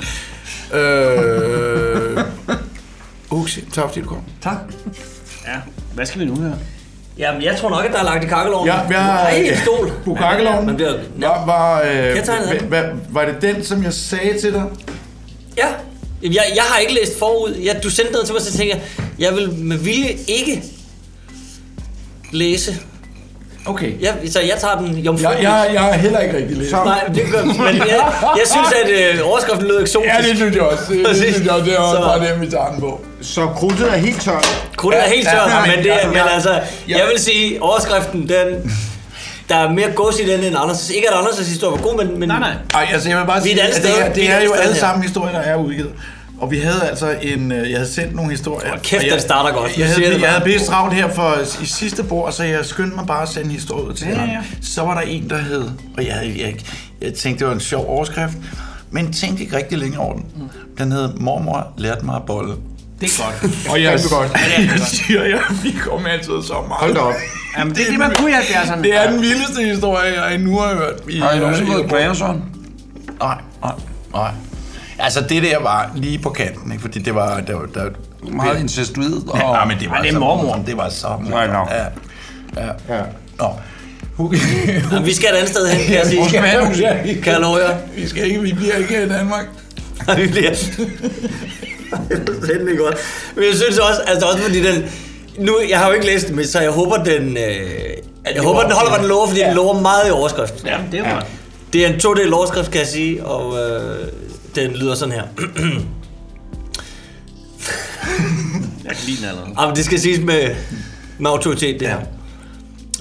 Øh... Uxi, tak fordi du kom. Tak. Ja, hvad skal vi nu her? Jamen, jeg tror nok, at der er lagt i kakkeloven. Ja, vi har... Nej, en stol. Bukakkeloven. Man bliver... Var, var, øh, Jeg tegner den. hva- hva- var det den, som jeg sagde til dig? Ja. Jamen, Jeg, jeg har ikke læst forud. Jeg, du sendte noget til mig, så tænker jeg, jeg vil med vilje ikke læse. Okay. Jeg, så jeg tager den jomfru. Jeg- jeg- jeg har heller ikke rigtig læst. Nej, det gør Men jeg, jeg synes, at øh, overskriften lød eksotisk. Ja, det synes jeg også. Det, det Præcis. synes jeg også. Det er også Så- bare det, vi tager den på. Så krudtet er helt tørt. Krudtet er helt Ja, tørt, ja, men, det, ja, er- men ja. altså, jeg vil sige, overskriften, den, der er mere gås i den end Anders. Ikke at Anders' historie var god, men... men nej, nej. Ej, altså, jeg vil bare vi er et sige, andet at sted. det, her, Vi det et er andet jo sted alle her. sammen historier, der er udgivet. Og vi havde altså en... øh, Jeg havde sendt nogle historier. Og kæft, jeg, den starter godt. Nu siger Jeg jeg havde, det jeg bare. havde bedst travlt her for, i sidste bord, så jeg skyndte mig bare at sende historier ud til Ja, jer. ja. Så var der en, der hed... Og jeg, havde- jeg, jeg tænkte, det var en sjov overskrift. Men tænkte ikke rigtig længe over den. Den hed Mormor lærte mig at bolle. Det er godt. Og jeg, Fandme godt. Ja, det er jeg godt. siger, jeg, vi kom altid så meget. Hold da op. Jamen, det er det, man kunne i 70'erne. Det er den vildeste historie, jeg endnu har hørt. i- Har I nogensinde i- fået Grayerson? Nej, nej, nej. Altså, det der var lige på kanten, ikke? Fordi det var... Der, der, Meget incestuid, og- Og... Ja, men det var Ej, det er så mormor. morsomt, Det var så morsomt. Nej, nå. Ja, ja. ja. Nå. Jamen, vi skal et andet sted hen, kan jeg sige. Vores mandhus, ja. Kan jeg love jer? Vi skal ikke, vi bliver ikke i Danmark. Nej, vi bliver... Fændelig godt. Men jeg synes også, altså også fordi den... Nu, jeg har jo ikke læst den, men så jeg håber, den... Øh, jeg håber, den holder, hvad den lover, fordi ja. den lover meget i overskriften. Ja, det er godt. Det er en to-del overskrift, kan jeg sige, og øh, den lyder sådan her. Jeg kan lide den allerede. Jamen, det skal siges med, med autoritet, det ja. her.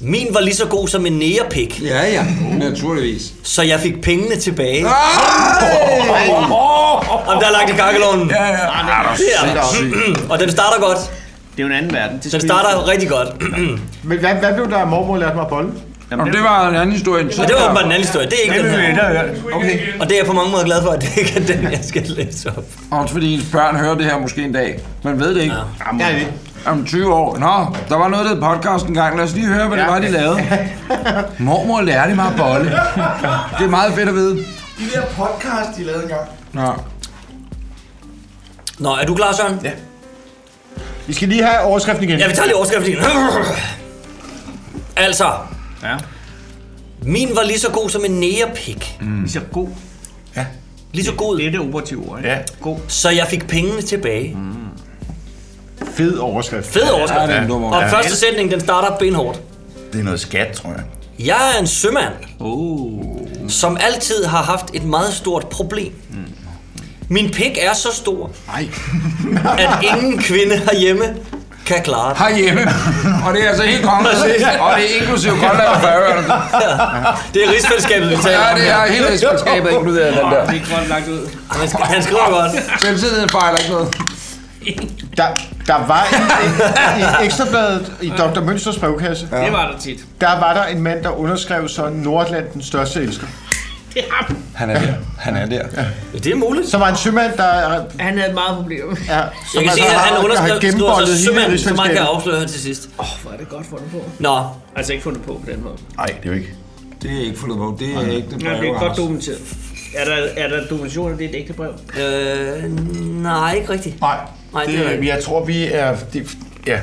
Min var lige så god som en nægerpik. Ja, ja. Naturligvis. Så jeg fik pengene tilbage. Ah! Om der er lagt i kakkeloven. Ja, ja. Ah, det er der. sindssygt. Og den starter godt. Det er jo en anden verden. Det Den starter rigtig godt. Men hvad, hvad blev der af mormor lærte mig at bolle? Jamen, det var en anden historie. Og det var bare en anden historie. Det er ikke den her. Okay. Og det er jeg på mange måder glad for, at det ikke er den, jeg skal læse op. Også fordi ens børn hører det her måske en dag. Man ved det ikke. Om, Ja, det er om 20 år. Nå, der var noget, der hed podcast en gang. Lad os lige høre, hvad det var, de lavede. Mormor lærte mig at bolle. Det er meget fedt at vide. De der podcast, de lavede engang. Nå. Nå, er du klar, Søren? Ja. Vi skal lige have overskriften igen. Ja, vi tager lige overskriften igen. altså. Ja. Min var lige så god som en nægerpik. Mm. Lige så god. Ja. Lige så god. Det er det operative ord, ikke? Ja. God. Så jeg fik pengene tilbage. Mm. Fed overskrift. Fed overskrift. Ja, det er en dum og overskrift. første sætning, den starter benhårdt. Det er noget skat, tror jeg. Jeg er en sømand, oh. som altid har haft et meget stort problem. Mm. Min pik er så stor, Nej. at ingen kvinde herhjemme kan klare det. Herhjemme. Og det er altså helt kongen. Præcis. Og det er inklusive Grønland og Færøerne. Det er rigsfællesskabet, vi taler Ja, om det her. er hele rigsfællesskabet inkluderet i den der. Det er ikke godt lagt ud. Han, sk- han skriver godt. Selvtilliden fejler ikke noget. Der, der var i, i Ekstrabladet i Dr. Mønsters brevkasse. Ja. Det var der tit. Der var der en mand, der underskrev så Nordlandens største elsker. Det er ham. Han er der. Han er der. Det er muligt. Som var en sømand, der... Ja, Han havde et meget problem. som Jeg kan altså sige, at har- han har underskriver gennemboldet sig hele sømand, så man rigsfællesskabet. kan jeg afsløre til sidst. Åh, oh, hvor er det godt fundet på. Nå, Altså ikke fundet på på den måde. Nej, det er jo ikke. Det er ikke fundet på. Det er ikke det Ja, det er godt dokumenteret. Er der, er der dokumentation, at det er et ægte brev? Øh, nej, ikke rigtigt. Nej, Nej, det, er det, rigtigt. jeg tror, vi er... Det, ja,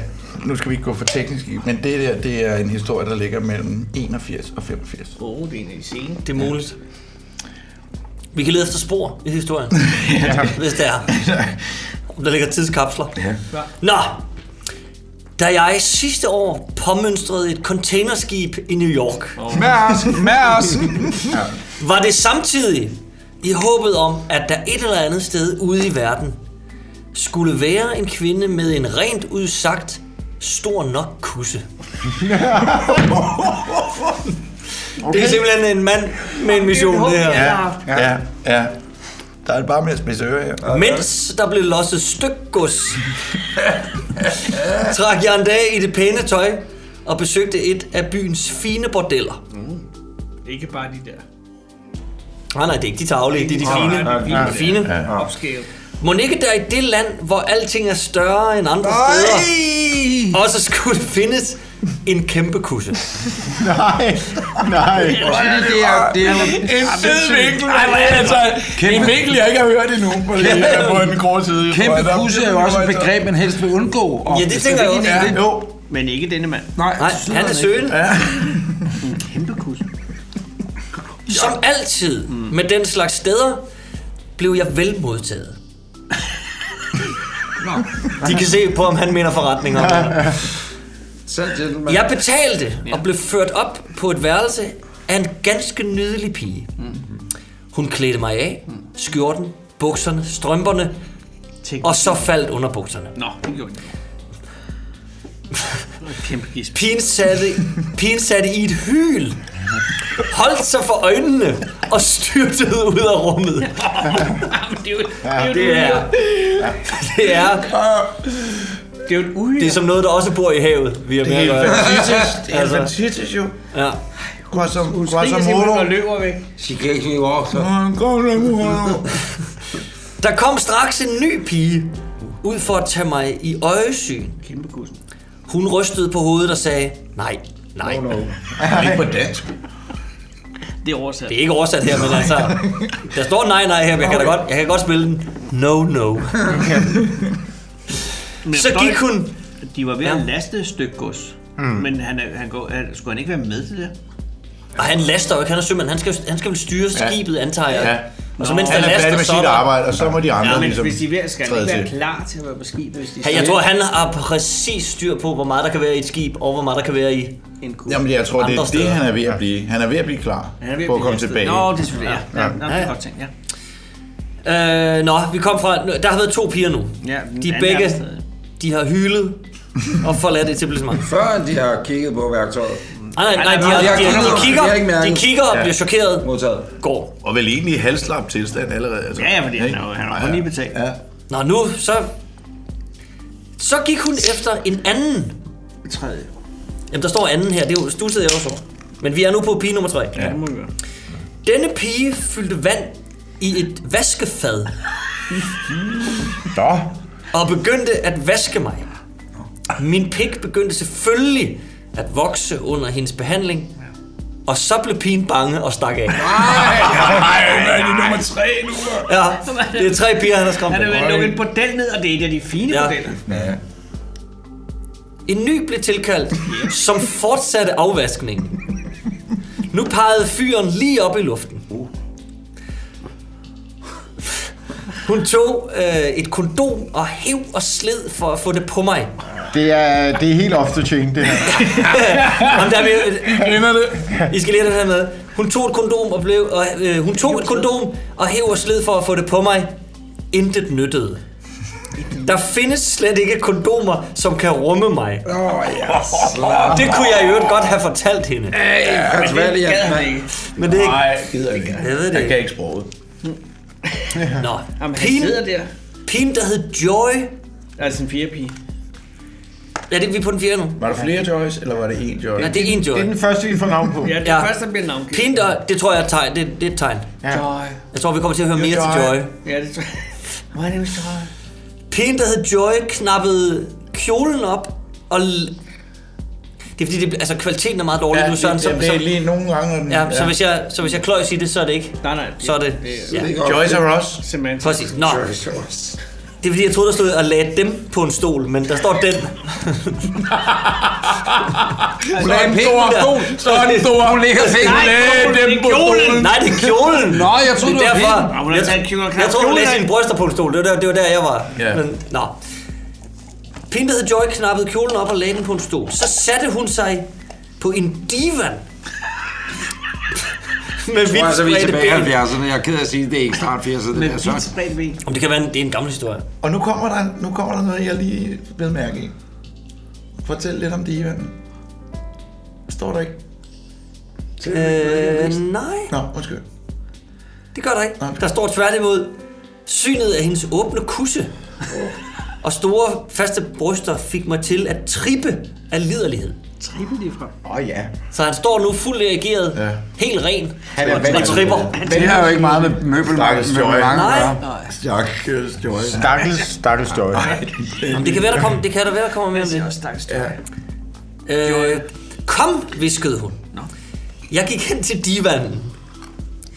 nu skal vi ikke gå for teknisk, i, men det der, det er en historie, der ligger mellem 81 og 85. Åh, oh, det er en af de sene. Det er muligt. Vi kan lede efter spor i historien, hvis det er. Om der ligger tidskapsler. Ja. Nå, da jeg sidste år påmønstrede et containerskib i New York, Med os. Med os. var det samtidig i håbet om, at der et eller andet sted ude i verden skulle være en kvinde med en rent udsagt stor nok kusse. Det er simpelthen en mand med en mission, det her. Ja, ja, ja. Der er det bare med at spidse ører her. Mens der blev losset stykgods, trak jeg en dag i det pæne tøj og besøgte et af byens fine bordeller. Mm. Ikke bare de der. Ah, Nej, nej, det er ikke de tavlige, det er de Nej, fine. nej, nej, de fine. ja, ja. Upscale. Må ikke der i det land, hvor alting er større end andre Nej! steder, også skulle findes en kæmpe kusse? Nej, nej. en fed vinkel. Ej, hvor er det altså, så- Kæmpe- en vinkel, jeg ikke har hørt endnu. På, det, Kæmpe- på den grå side. Kæmpe Der- kusse er jo også et begreb, man helst vil undgå. Og Ja, det tænker jeg også. Ja. Jo, men ikke denne mand. Nej, Nej, han er søgende. Ja. Som altid Mm. med den slags steder, blev jeg vel modtaget. De kan se på, om han mener forretninger. Jeg betalte og blev ført op på et værelse af en ganske nydelig pige. Mm. Hun klædte mig af, skjorten, bukserne, strømperne, og så faldt underbukserne. Nå, det gjorde jeg. Kæmpe gisp. Pigen satte, pigen satte i et hyl, holdt sig for øjnene og styrtede ud af rummet. Det er jo, Ja, det det er er, jo det er, det er jo et uhyre. Det er som noget, der også bor i havet. Vi har med at Det er gøre. fantastisk. Det er fantastisk, Altså. jo. Ja. Guasam, løber væk. Chicago i år, så... Der kom straks en ny pige ud for at tage mig i øjesyn. Kæmpe kussen. Hun rystede på hovedet og sagde, nej, nej. No, no. Ikke på dansk. Det er oversat. Det er ikke oversat her, men altså, der står nej, nej her, men jeg kan, da godt, jeg kan godt spille den. No, no. Men jeg Så forstår gik ikke, hun- De var ved Ja. at laste et stykke gods. Mm. Men han, er- han går, er, skulle han ikke være med til det? Og han laster jo ikke, han er sømand. Han skal, han skal vel styre Ja. skibet, antager jeg. Ja. Og så Nå. mens Han der er laster, færdig med så sit der- arbejde, og så må de andre ja, men ligesom hvis de er ved, skal han træde ikke være til. klar til at være på skibet, hvis de Hey, jeg tror, han har præcis styr på, hvor meget der kan være i et skib, og hvor meget der kan være i en kugle. Jamen, jeg tror, det er Andre det, steder. han er ved at blive. Han er ved at blive klar Han er ved at på at blive komme lastet. tilbage. Nå, det er selvfølgelig- ja. Ja, nå, det er godt tænkt, ja. Øh, nå, vi kom fra... Der har været to piger nu. Ja, den anden de er begge, der stadig. de har hylet og forladt etablissementet. Før de har kigget på værktøjet. Nej, nej, nej, de, har, de, har, de, de de har ikke kigger, de mærket. kigger og Ja. bliver chokeret. Modtaget. Går. Og vel egentlig i halslap tilstand allerede. Altså. Ja, ja, fordi han Ikke? har jo- han har Ja, kun ja. lige betalt. Ja. Nå, nu så... Så gik hun efter en anden. Tredje. Jamen, der står anden her. Det er jo stusset, jeg også over. Men vi er nu på pige nummer tre. Ja, det må vi gøre. Denne pige fyldte vand i et vaskefad. Nå. Og begyndte at vaske mig. Min pik begyndte selvfølgelig at vokse under hendes behandling. Og så blev pigen bange og stak af. Nej, hvad er det nummer tre nu? Ja, det er tre piger, han har skræmt. Han er Oj. ved lukket en bordel ned, og det er et af de fine Ja. ja. bordeller. Ja. En ny blev tilkaldt, som fortsatte afvaskningen. Nu pegede fyren lige op i luften. Hun tog øh, et kondom og hev og sled for at få det på mig. Det er, det er helt off the chain, det her. Jamen, der er vi, Ender det. I skal lige have det her med. Hun tog et kondom og blev... Og, øh, hun tog et kondom og hæv og sled for at få det på mig. Intet nyttede. Der findes slet ikke kondomer, som kan rumme mig. Åh, yes. Det kunne jeg i øvrigt godt have fortalt hende. Ja, men det gad han ikke. Men det er ikke... Nej, det gider jeg ikke. Jeg ved det Han kan ikke. ikke sproget. Nå. Jamen, han Pigen- sidder der. Pigen, der hed Joy. Altså en firepige. Ja, det er vi på den fjerde nu. Var der flere Joyce, eller var det én Joyce? Ja, det er en Joy. Den første, vi får navn på. Ja, det er ja. først, der bliver navngivet. Pigen, der... Det tror jeg er et tegn. Det, det er et tegn. Ja. Joy. Jeg tror, vi kommer til at høre mere til Joy. Ja, det tror jeg. My name is Joy. Pigen, der hed Joy, knappede kjolen op og... l- Det er fordi, det, altså, kvaliteten er meget dårlig Ja, nu, Søren. det, Så, det, det er så, lige nogle gange... den- ja, så hvis jeg, så hvis jeg kløjs i det, så er det ikke. Nej, nej. Så er det... Ja. Joyce og Ross. Semantik. Præcis. Nå. Det er fordi, jeg troede, der stod og lagde dem på en stol, men der står den. Hun er en stor stol. Så er den stor. Hun ligger sig. Nej, dem på stolen. Nej, det er kjolen. Nå, jeg troede, det det er var derfor. pinden. Ja, hun har taget Jeg, kjolen og jeg, knap jeg troede, hun kjolen lagde af. sine bryster på en stol. Det var der, det var der jeg var. Ja. Men, nå. Pinden hed Joy knappede kjolen op og lagde den på en stol. Så satte hun sig på en divan. Med Jeg tror, altså, vi er vidt tilbage i spredte ben. 70'erne. Jeg er ked af at sige, det er ikke snart 80'erne, det der Vidt Søren. spredt ben. Om det kan være en, det er en gammel historie. Og nu kommer, der, nu kommer der noget, jeg lige vil mærke i. Fortæl lidt om divanen. Står der ikke? Øh, nej. Nå, undskyld. Det gør der ikke. Der står tværtimod synet af hendes åbne kusse. og store faste bryster fik mig til at trippe af liderlighed. Trippe lige fra. Åh oh, ja. Så han står nu fuldt erigeret, ja. helt ren, han er og tripper. Det har jo ikke meget med møbel, Stakkels møbel Joy. mange Nej. øh, Stakkels Joy. Stakkels, stakkels Joy. Jamen, det kan være, der kommer, det kan der være, der kommer mere om det. Ja. Øh, kom, viskede hun. Jeg gik hen til divanen,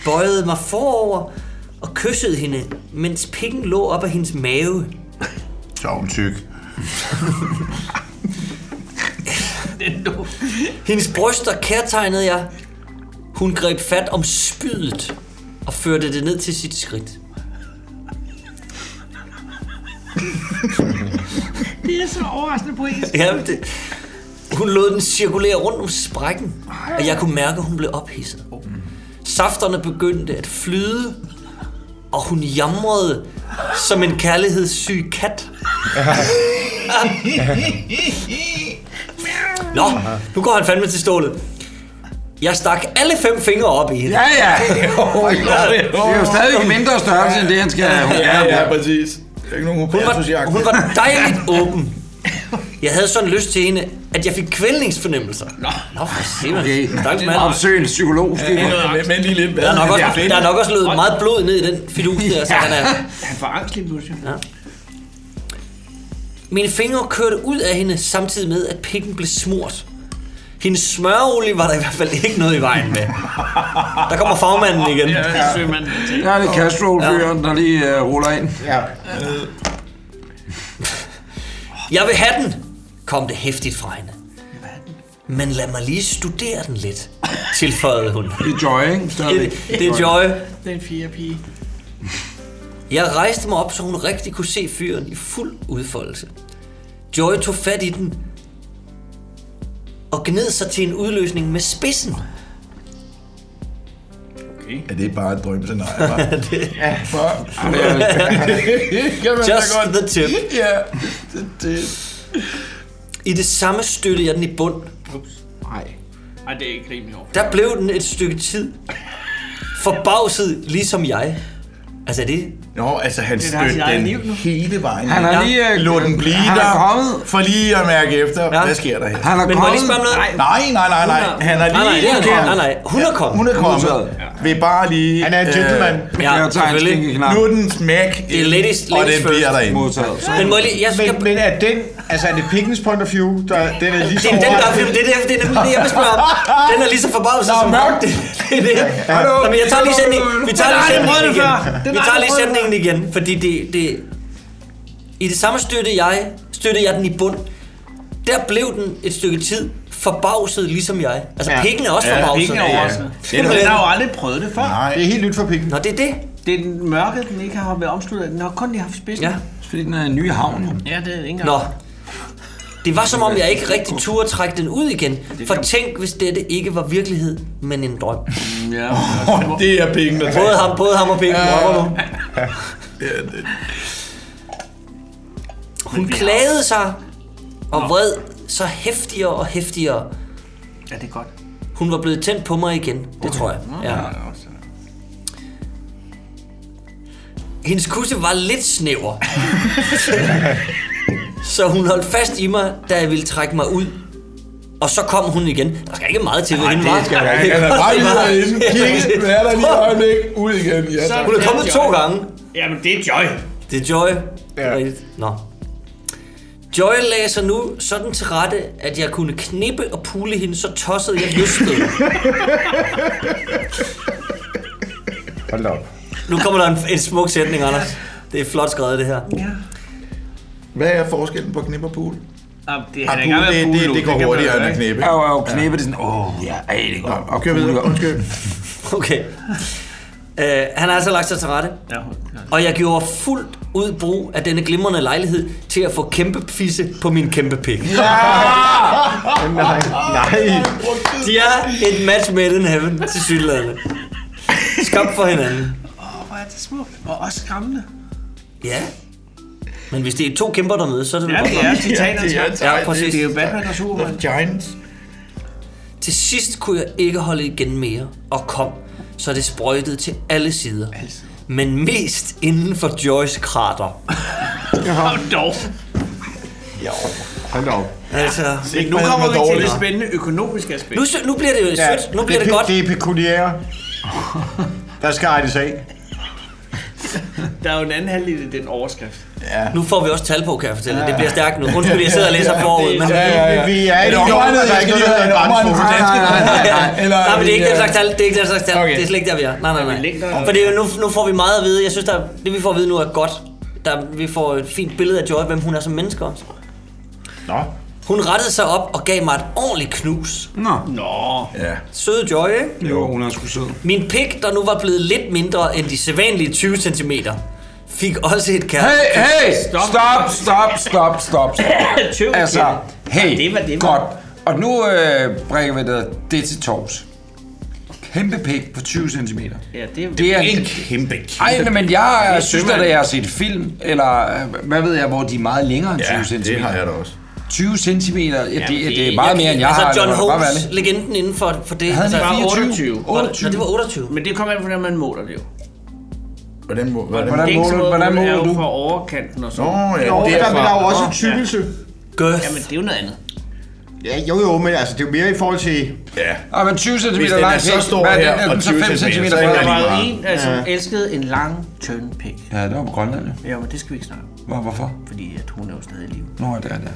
bøjede mig forover og kyssede hende, mens pikken lå op af hendes mave. Så er hun tyk. Hendes bryster kærtegnede jeg. Hun greb fat om spydet og førte det ned til sit skridt. Det er så overraskende poetisk. Ja, men det, hun lod den cirkulere rundt om sprækken, og jeg kunne mærke, at hun blev ophidset. Safterne begyndte at flyde, og hun jamrede som en kærlighedssyg kat. Nå, nu går han fandme til stålet. Jeg stak alle fem fingre op i hende. Ja, ja. Det er jo stadig en mindre størrelse, end det, han skal have. Ja, ja, præcis. Det er ikke nogen Hun var, hun var dejligt åben. Jeg havde sådan lyst til hende, at jeg fik kvælningsfornemmelser. Nå, Nå for simpelthen. Okay. Stakkels mand. Opsøg en psykolog. Ja, det er noget- men lige lidt Der er nok også, der er nok også løbet meget blod ned i den fidus der, så han er... Han får angst lige pludselig. Ja. Mine fingre kørte ud af hende, samtidig med, at pikken blev smurt. Hendes smørolie var der i hvert fald ikke noget i vejen med. Der kommer fagmanden igen. Ja, ja. Der er lidt Castrol-fyren, der lige øh, ruller ind. Ja. Jeg vil have den, kom det hæftigt fra hende. Men lad mig lige studere den lidt, tilføjede hun. Det er Joy, ikke? Det, det er Joy. Den fire pige. Jeg rejste mig op, så hun rigtig kunne se fyren i fuld udfoldelse. Joy tog fat i den og gned sig til en udløsning med spidsen. Okay. Er det bare et drømscenarie? hva'? Det- Ja, for... Just the tip. Ja, det, det. I det samme støttede jeg den i bund. Nej. Nej, det er ikke rimeligt over. Der blev den et stykke tid. Forbavset, ligesom jeg. Altså er det... Nå, altså han Det er hans stødte eget den liv nu. hele vejen. Han har lige, øh, Lå den blive han er der, kommet. for lige at mærke efter, ja. hvad sker der her. Han er Men må jeg lige kommet. spørge om noget? Nej, nej, nej, nej. Hun er- Han er Nej, nej, lige det er han ikke. der. Nej, nej. Hun er kommet. Hun er kommet. Vi bare lige... Han er en øh, gentleman. Ja, Jeg tager en selvfølgelig. skinkeknap. Nu er den smæk, Det er ladies- og ladies den bliver first. derinde. Modtaget. Men må jeg lige- jeg skal- men, men er den, altså er det pikkens point of view, der, den er lige Det så er den, der er overraskende? filmen. Det er, det, det er nemlig det, jeg vil spørge om. Den er lige så forbavset som mørkt. Det, det er det. Hallo? Nå, men jeg tager lige sætningen. Vi tager Den har lige aldrig prøvet sætningen det igen. før. Den har Vi tager aldrig prøvet lige det sætningen igen, fordi det, det... I det samme støtte jeg, støtte jeg den i bund. Der blev den et stykke tid forbavset, ligesom jeg. Altså, Ja. pikken er også Ja, forbavset. pikken er overraskende. Simpelthen. Den har jo aldrig prøvet det før. Nej. Det er helt nyt for pikken. Nå, det er det. Det er den mørke, den ikke har været omsluttet. af. Den har kun lige haft spidsen. Ja. Fordi den er en ny havn, jo. Ja, det er ikke Nå. Det var som om, jeg ikke rigtig turde trække den ud igen. For tænk, hvis dette ikke var virkelighed, men en drøm. Mm, Ja, det er penge, der Både ham, både ham og penge. Ja. Hun klagede sig og vred så hæftigere og hæftigere. Ja, det er godt. Hun var blevet tændt på mig igen, det tror jeg. Ja. Hendes kusse var lidt snæver. så hun holdt fast i mig, da jeg ville trække mig ud. Og så kom hun igen. Der skal ikke meget til, hvad hende var. Det skal der ikke. Han er bare lige derinde. Kig, hvad er der lige et øjeblik? Ud igen. Ja, tak. Hun er kommet to gange. Jamen, det er Joy. Det er Joy. Ja. Rigtigt. Nå. Joy lagde sig nu sådan til rette, at jeg kunne knippe og pule hende, så tossede jeg lystede. Hold da op. nu kommer der en, en smuk sætning, Anders. Det er flot skrevet, det her. Ja. Hvad er forskellen på knip og pool? Jamen, det Ah, er pool, det, det, det, går hurtigere end at knæppe. Ja, og knæppe det er sådan, åh, ja, ej, det er godt. Og kør videre, undskyld. Okay. Øh, han har altså lagt sig til rette. Ja, og jeg gjorde fuldt ud brug af denne glimrende lejlighed til at få kæmpe fisse på min kæmpe pik. Ja! Nej, nej. De er et match made in heaven til sydlandet. Skabt for hinanden. Åh, hvor er det smukt. Og også skræmmende. Ja. Men hvis det er to kæmper, der mødes, så er det Ja, godt det er nok. titanernes Ja, kamp. Ja, præcis. Det er jo Batman og Superman. Giants. Til sidst kunne jeg ikke holde igen mere, og kom, så det sprøjtede til alle sider. Men mest inden for Joyce krater. Kom dog. Jo, hold da op. Altså, Se, nu kommer vi til det spændende økonomiske aspekt. Nu, sy- nu bliver det sødt. Nu bliver det, pe- godt. Det er pekuniære. Der skal regnes af. Der er jo en anden halvdel i den overskrift. Ja. Nu får vi også tal på, kan jeg fortælle. Ja. Det bliver stærkt nu. Undskyld, jeg sidder og læser forud. Men... Vi er i Men omegnet, det område, der jeg ikke skal lige er noget, der have er en omegnet på grænse. dansk. Nej, nej, nej, nej. Eller Nej, men det er ikke i, den slags øh, tal. Det er ikke den slags tal. Det er slet ikke der, vi er. Nej, nej, nej. Fordi nu, nu får vi meget at vide. Jeg synes, der, det vi får at vide nu er godt. Der, vi får et fint billede af Joy, hvem hun er som menneske også. Nå. Hun rettede sig op og gav mig et ordentligt knus. Nå. Nå. Ja. Søde Joy, ikke? Jo, hun er sgu sød. Min pik, der nu var blevet lidt mindre end de sædvanlige 20 cm, fik også et kæreste. Hey, hey! Stop, stop, stop, stop. stop. altså, hey, det var, det var. godt. Og nu øh, bringer vi det, det til tors. Kæmpe pik på 20 cm. Ja, det er, Det er en kæmpe, kæmpe Nej, men jeg Det er øh, synes da, sømand. da jeg har set film, eller øh, hvad ved jeg, hvor de er meget længere end 20 Ja, cm. det har jeg da også. 20 cm, ja, det, det, det er meget Jeg- mere, end jeg altså, har. John lad mig bare være Holmes, ærlig. legenden inden for, for det. Havde altså, han var 24? 28. Var det- Nå, det var 28. Men det kommer an på, hvordan man måler det jo. Hvordan, må, hvordan, Det er ikke sådan noget, hvordan hvor det er måler jo du? Fra overkanten og sådan. Nå, ja, Jo, det er der, men der er jo også Nå, en tykkelse. Gøf. Jamen, det er jo noget andet. Ja, jo, jo, men altså, det er jo mere i forhold til... Ja. Ah, men 20 cm Hvis den er lang så pik, stor hvad er den? her, Er den og så 20 5 centimeter, cm så er bred? det Der var meget. en, der som Ja. elskede en lang, tynd pik. Ja, det var på Grønland, jo. Ja, men det skal vi ikke snakke om. Hvor, hvorfor? Fordi at hun er jo stadig i live. Nå, det er det.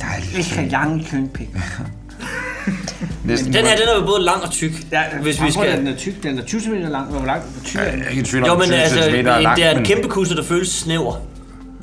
Der er ikke en lang, tynd pik. Næsten. Den her, den er jo både lang og tyk. Ja, hvis vi skal... Den er tyk, den er 20 cm lang. Hvor lang? Hvor tyk er den? ikke i tvivl om, Jo, men 20 altså, centimeter er en- langt, det er en men- kæmpe kusse, der føles snæver.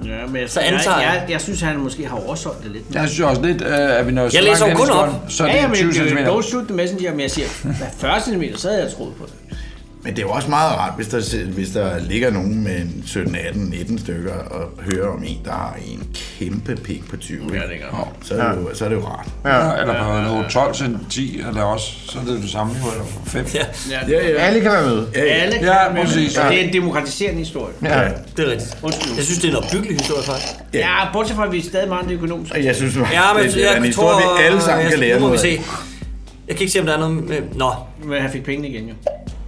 Ja, men altså, jeg, Så så antager antager jeg, jeg. jeg, jeg, synes, han måske har oversolgt det lidt. Jeg synes også lidt, øh, at vi når Jeg læser jo hen i kun skoven, op. Så er det ja, men 20 det er jo cm. Don't shoot the messenger, men jeg siger, hvad 40 cm, så havde jeg troet på det. Men det er jo også meget rart, hvis der, se- hvis der ligger nogen med en 17, 18, 19 stykker og hører om en, der har en kæmpe pik på 20. Ja, det gør så, er det jo, så er det jo rart. Ja. Eller på noget 12 til 10, eller også, så er det jo det samme niveau, eller 5. Ja, Ja, ja. Alle kan være med. Ja, ja. Alle kan Ja, være med. præcis. Det er Ja. en demokratiserende historie. Ja. Det er rigtigt. Undskyld. Jeg synes, det er en opbyggelig historie, faktisk. Ja, bortset fra, at vi er stadig meget økonomisk. Jeg synes, det Ja, men det, det er en jeg historie, tror... vi alle sammen jeg- kan lære Nu må vi noget se. af. Jeg kan ikke se, om der er noget... med- Nå. Men han fik pengene igen, jo.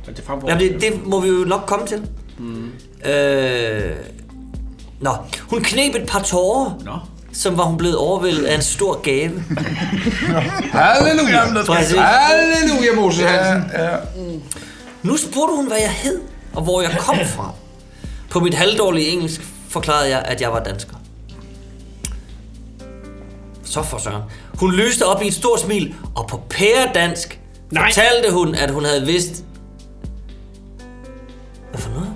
Og det fremgår. Jamen, det, det må vi jo nok komme til. Mm. Øh... Nå. Hun knep et par tårer. Nå. Som var hun blevet overvældet af en stor gave. Halleluja! Præcis. Halleluja, Moses Hansen! Ja, ja. Nu spurgte hun, hvad jeg hed, og hvor jeg kom fra. På mit halvdårlige engelsk forklarede jeg, at jeg var dansker. Så for søren. Hun lyste op i et stort smil, og på pæredansk Nej. fortalte hun, at hun havde vidst... Hvad for noget?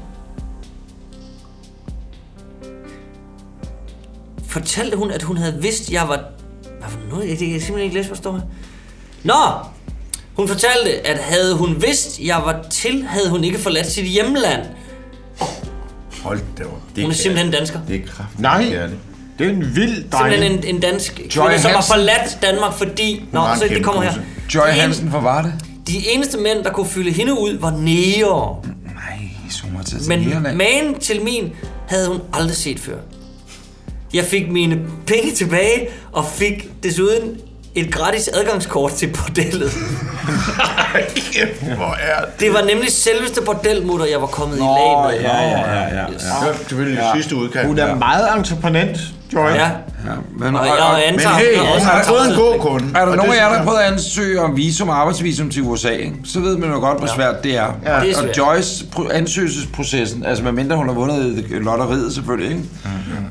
Fortalte hun, at hun havde vidst, jeg var... Hvad for noget? Jeg det kan jeg simpelthen ikke læse, forstår jeg. Nå! Hun fortalte, at havde hun vidst, jeg var til, havde hun ikke forladt sit hjemland. Hold da op. Hun er simpelthen dansker. Det er kraftigt. Nej, det er en vild dreng. Simpelthen en, en dansk kvinde, som har Hansen. forladt Danmark, fordi... Nå, har en så det kæmpe kommer her. pose. Joy De en- Hansen fra Varde. De eneste mænd, der kunne fylde hende ud, var næger. Nej, så må tage til Men Irland. magen til min havde hun aldrig set før. Jeg fik mine penge tilbage, og fik desuden et gratis adgangskort til bordellet. Hvor er Det var nemlig selveste bordelmutter, jeg var kommet i lag med. ja, ja. selvfølgelig Ja. sidste udkald. Hun er meget entreprenant, Joy. Ja. Men, Og jeg antager- men hey, jeg er antager- der- har fået en god kunde, Er der og nogen af det jer, der har synes jeg- prøvet at ansøge om visum og arbejdsvisum til USA, ikke? så ved man jo godt, hvor svært det er. Ja. Det er Og svært. Joyce pro- ansøgelsesprocessen, altså medmindre hun har vundet lotteriet selvfølgelig, ikke?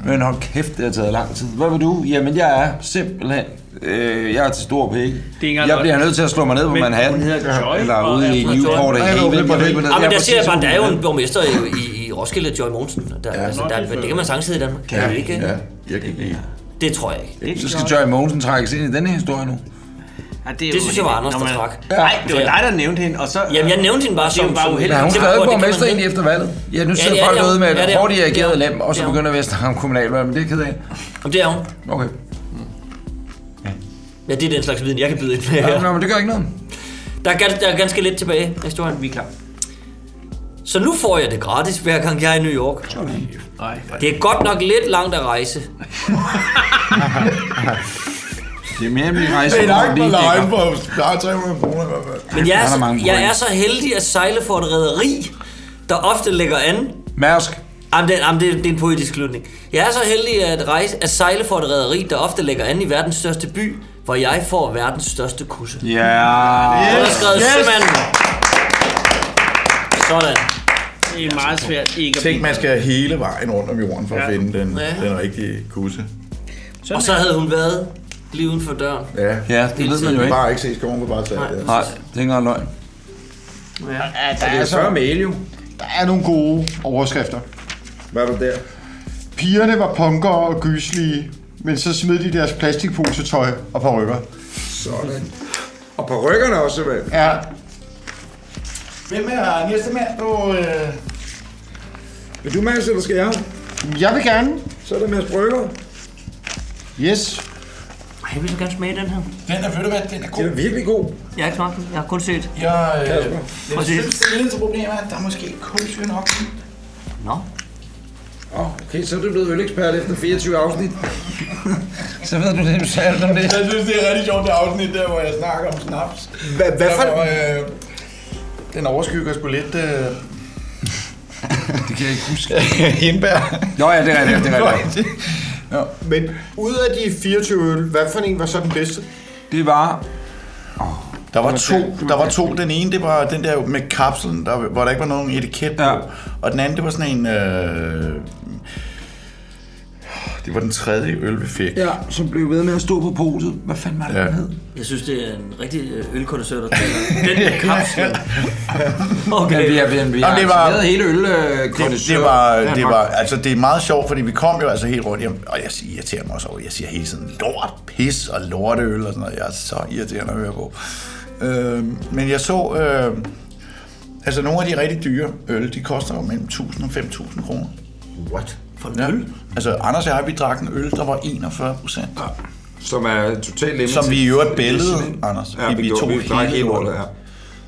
men hold kæft, det har taget lang tid. Hvad vil du? Jamen, jeg er simpelthen... Øh, jeg er til stor pæk. engang Jeg bliver løgn. nødt til at slå mig ned på Men Manhattan. hun hedder Joy, Eller og ude er i fra Newport Joy. af Ja, Haven. jeg ved, Jeg ved det ikke, Ja, men der præcis, ser jeg bare, hvor der er hun jo en borgmester i, i, i Roskilde, Joy Mogensen. Der, ja, altså, der, er- det kan man sagtens hedde i Danmark. Kan det ikke? Ja, jeg kan ikke Det tror jeg ikke. Så skal Joy Mogensen trækkes ind i denne historie nu. Ja, det, Det synes jeg var Anders, der trak. Nej, det var dig, der nævnte hende, og så... Jamen, jeg nævnte hende bare Det er jo som- bare som- uheldigt. Ja, hun Tænk stadig på, at det kan borgmester man ind ikke. efter valget. Ja, Ja, nu sidder det er folk det, derude med ja, et det er hårdt hun. dirigeret Ja. lem, og så Ja. begynder vi at snakke om kommunalvalg, men det er jeg ked af. Jamen, det er hun. Okay. Ja, det er den slags viden, jeg kan byde ind med. Ja, nå, men det gør ikke noget. Der er, gans- der er ganske lidt tilbage af historien. Vi er klar. Så nu får jeg det gratis, hver gang jeg er i New York. Nej, Det er godt nok lidt langt at rejse. Det er mere end min rejse. Det er langt hvor på de lejen dækker. på snart 300 kroner i hvert fald. Men jeg er, Der er så, mange jeg point. er så heldig at sejle for et rederi, der ofte lægger an Mærsk. Jamen, det, jamen, det, det er en poetisk slutning. Jeg er så heldig at, rejse, at sejle for et rederi, der ofte lægger an i verdens største by, hvor jeg får verdens største kusse. Ja. Yeah. Underskrevet yes. sømanden. Sådan. Det er meget svært ikke at Tænk, blive- man skal hele vejen rundt om jorden for ja. Ja. at finde den, Ja. den rigtige kusse. Og så havde hun været lige uden for døren. Ja, Ja, det ved man jo ikke. Bare ikke se skoven på bare tage det. Nej, det er ikke engang løgn. Ja. Der er, Altså- så, mail, jo. der er nogle gode overskrifter. Hvad er du der? Pigerne var punker og gyslige, men så smed de deres plastikposetøj og parrykker. Sådan. Og på ryggerne også, vel? Ja. Hvem er næste mand på... Øh... Vil du, Mads, eller skal jeg? Jeg vil gerne. Så er der Mads Brygger. Yes. Jeg vil så gerne smage den her. Den er, ved du hvad, den er god. Den er virkelig god. Jeg har ikke smagt den. Jeg har kun set. Jeg, øh, Kasper. jeg Og det- synes, det eneste problem er, at der er måske ikke kulsyre nok. Nå. Oh, okay, så er du blevet ølekspert efter 24 afsnit. så ved du det, du sagde om det. Jeg synes, det er rigtig sjovt, det afsnit der, hvor jeg snakker om snaps. Hvad, hvad for- øh, den overskygger sgu lidt... Øh... det kan jeg ikke huske. Hindbær. Nå ja, det er rigtigt, det er rigtigt. ja. Men ud af de 24 øl, hvad for en var så den bedste? Det var... Der var, to, der var to. Den ene, det var den der med kapslen, der, hvor der ikke var nogen etiket på. Ja. Og den anden, det var sådan en... Øh, det var den tredje øl, vi fik. Ja, som blev ved med at stå på poset. Hvad fanden var det, Ja. ja. hed? Jeg synes, det er en rigtig øh, ølkondensør, der taler. Den der kapsel. Okay. Men vi har, vi har, vi Nå, har det var, aktiveret hele øl øh, det, det, var, det var, altså det er meget sjovt, fordi vi kom jo altså helt rundt, jeg, og jeg irriterer mig også over, jeg siger hele tiden lort, pis og lorteøl og sådan noget, jeg er så irriterende at høre på. Øh, men jeg så, øh, altså nogle af de rigtig dyre øl, de koster jo mellem 1000 og 5000 kroner. What? For en øl? Altså Anders og jeg, vi drak en øl, der var 41 procent. Som er totalt limited. Som vi i øvrigt bællede, Anders. Ja, vi, vi, to vi drak hele lortet, ja.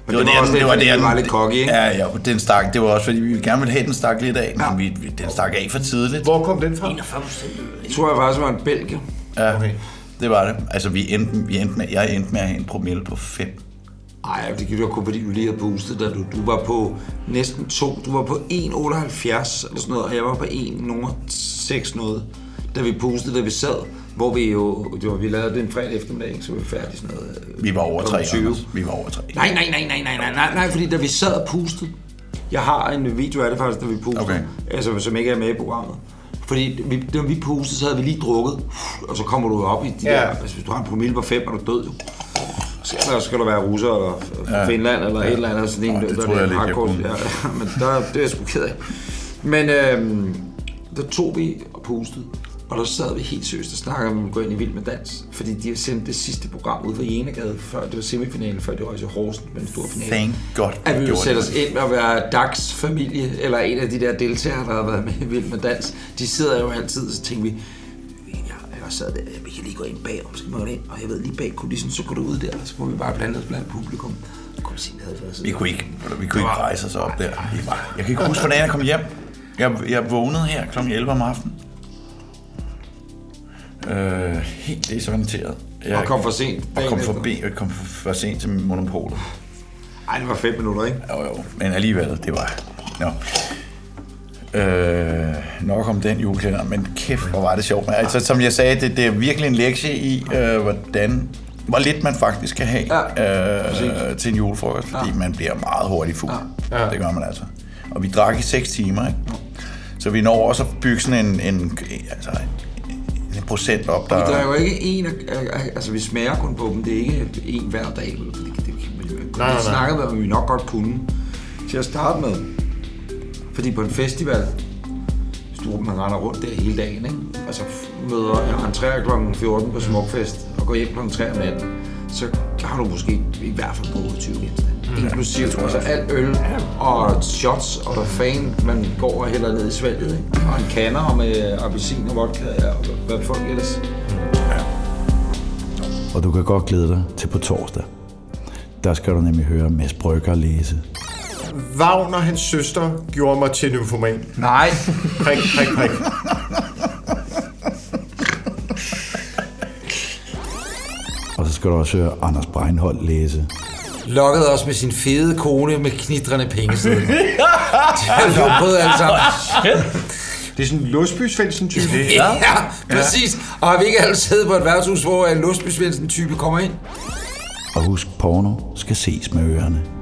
Men det, var, det, det, var det, var den- lidt cocky, ikke? Ja, ja, den stak, det var også, fordi vi gerne ville have, den stak lidt af, men vi, vi, den stak af for tidligt. Hvor kom den fra? 41 procent. Jeg tror jeg faktisk var en belgier. Ja, okay. det var det. Altså, vi endte, vi endte med, jeg endte med at have en promille på 5. Nej, det kan du kun, fordi du lige havde boostet dig. Du, du var på næsten to. Du var på 1,78 eller sådan noget, og jeg var på 1,06 noget, da vi boostede, da vi sad. Hvor vi jo, det var, vi lavede det en fredag eftermiddag, ikke? så vi var færdige sådan noget. øh, Vi var over klokken 3, 20. Anders. Vi var over 3. Nej, nej, nej, nej, nej, nej, nej, nej, fordi da vi sad og pustede, jeg har en video af det faktisk, da vi pustede, okay. altså, som ikke er med i programmet. Fordi vi, da vi pustede, så havde vi lige drukket, og så kommer du op i de ja. Ja. der, altså hvis du har en promille på fem, er du død jo. Så skal der, så skal der være russer eller f- fra Ja. Finland eller Ja. et eller andet, sådan en, Nå, det der, troede jeg der, lidt, jeg hardcore- kunne. ja, men der, det er jeg sgu ked af. Men øhm, der tog vi og pustede, og der sad vi helt seriøst og snakkede om, at vi ville gå ind i Vild med Dans. Fordi de har sendt det sidste program ud fra Jenegade, før det var semifinalen, før det var til Horsens med den store finale. Thank God, vi At vi ville gjorde sætte det. os ind og være DAX familie, eller en af de der deltagere, der har været med i Vild med Dans. De sidder jo altid, så tænkte vi, jeg, jeg sad der, vi kan lige gå ind bagom, så må jeg ind, og jeg ved lige bag kulissen, så går du ud der, og så må vi bare blande os blandt publikum. Så kunne vi sige, hvad havde Vi kunne ikke, vi kunne ikke rejse os op der. Vi var- Jeg kan ikke huske, hvordan jeg kom hjem. Jeg, jeg vågnede her kl. 11 om aftenen. Øh, helt desorienteret. Jeg, Og kom for sent Og dagen kom for, efter. ben, jeg kom for, for sent til monopolet. Ej, det var fem minutter, ikke? Jo, jo. Men alligevel, det var... Nå. Øh, nok om den julekalender, men kæft, hvor var det sjovt. Altså, som jeg sagde, det, det er virkelig en lektie i, øh, hvordan, hvor lidt man faktisk kan have ja, øh, til en julefrokost, fordi ja. man bliver meget hurtigt fuld. Ja. Ja. Det gør man altså. Og vi drak i 6 timer, ikke? Så vi når også at bygge sådan en, en, altså, en procent op, Vi der... drikker jo ikke en, af- af- af- altså vi smager kun på dem, det er ikke en hver dag, vel? Fordi det, det, det, det, nej, nej. det snakkede vi om, at vi nok godt kunne. Til at starte med, fordi på en festival, hvis du man render rundt der hele dagen, ikke? altså f- møder jeg entrer kl. 14 på Smukfest og går hjem kl. 3 om natten, så har du måske i hvert fald brugt 20 genstande. Ja, Inklusiv det tror Mm. jeg altså også. alt øl og shots og hvad fanden man går og hælder ned i svælget. Ikke? Og en kander og med appelsin og vodka og hvad folk ellers. Og du kan godt glæde dig til på torsdag. Der skal du nemlig høre Mads Brygger læse. Wagner, hans søster, gjorde mig til nyfoman. Nej. Prik, prik, prik. Og så skal du også høre Anders Breinholt læse. lokkede os med sin fede kone med knitrende pengesedler. det har vi jo prøvet alle sammen. Det er sådan en Låsby type. Ja, præcis. Og har vi ikke alle siddet på et værtshus, hvor en Låsby Svendsen type kommer ind? Og husk, porno skal ses med ørerne.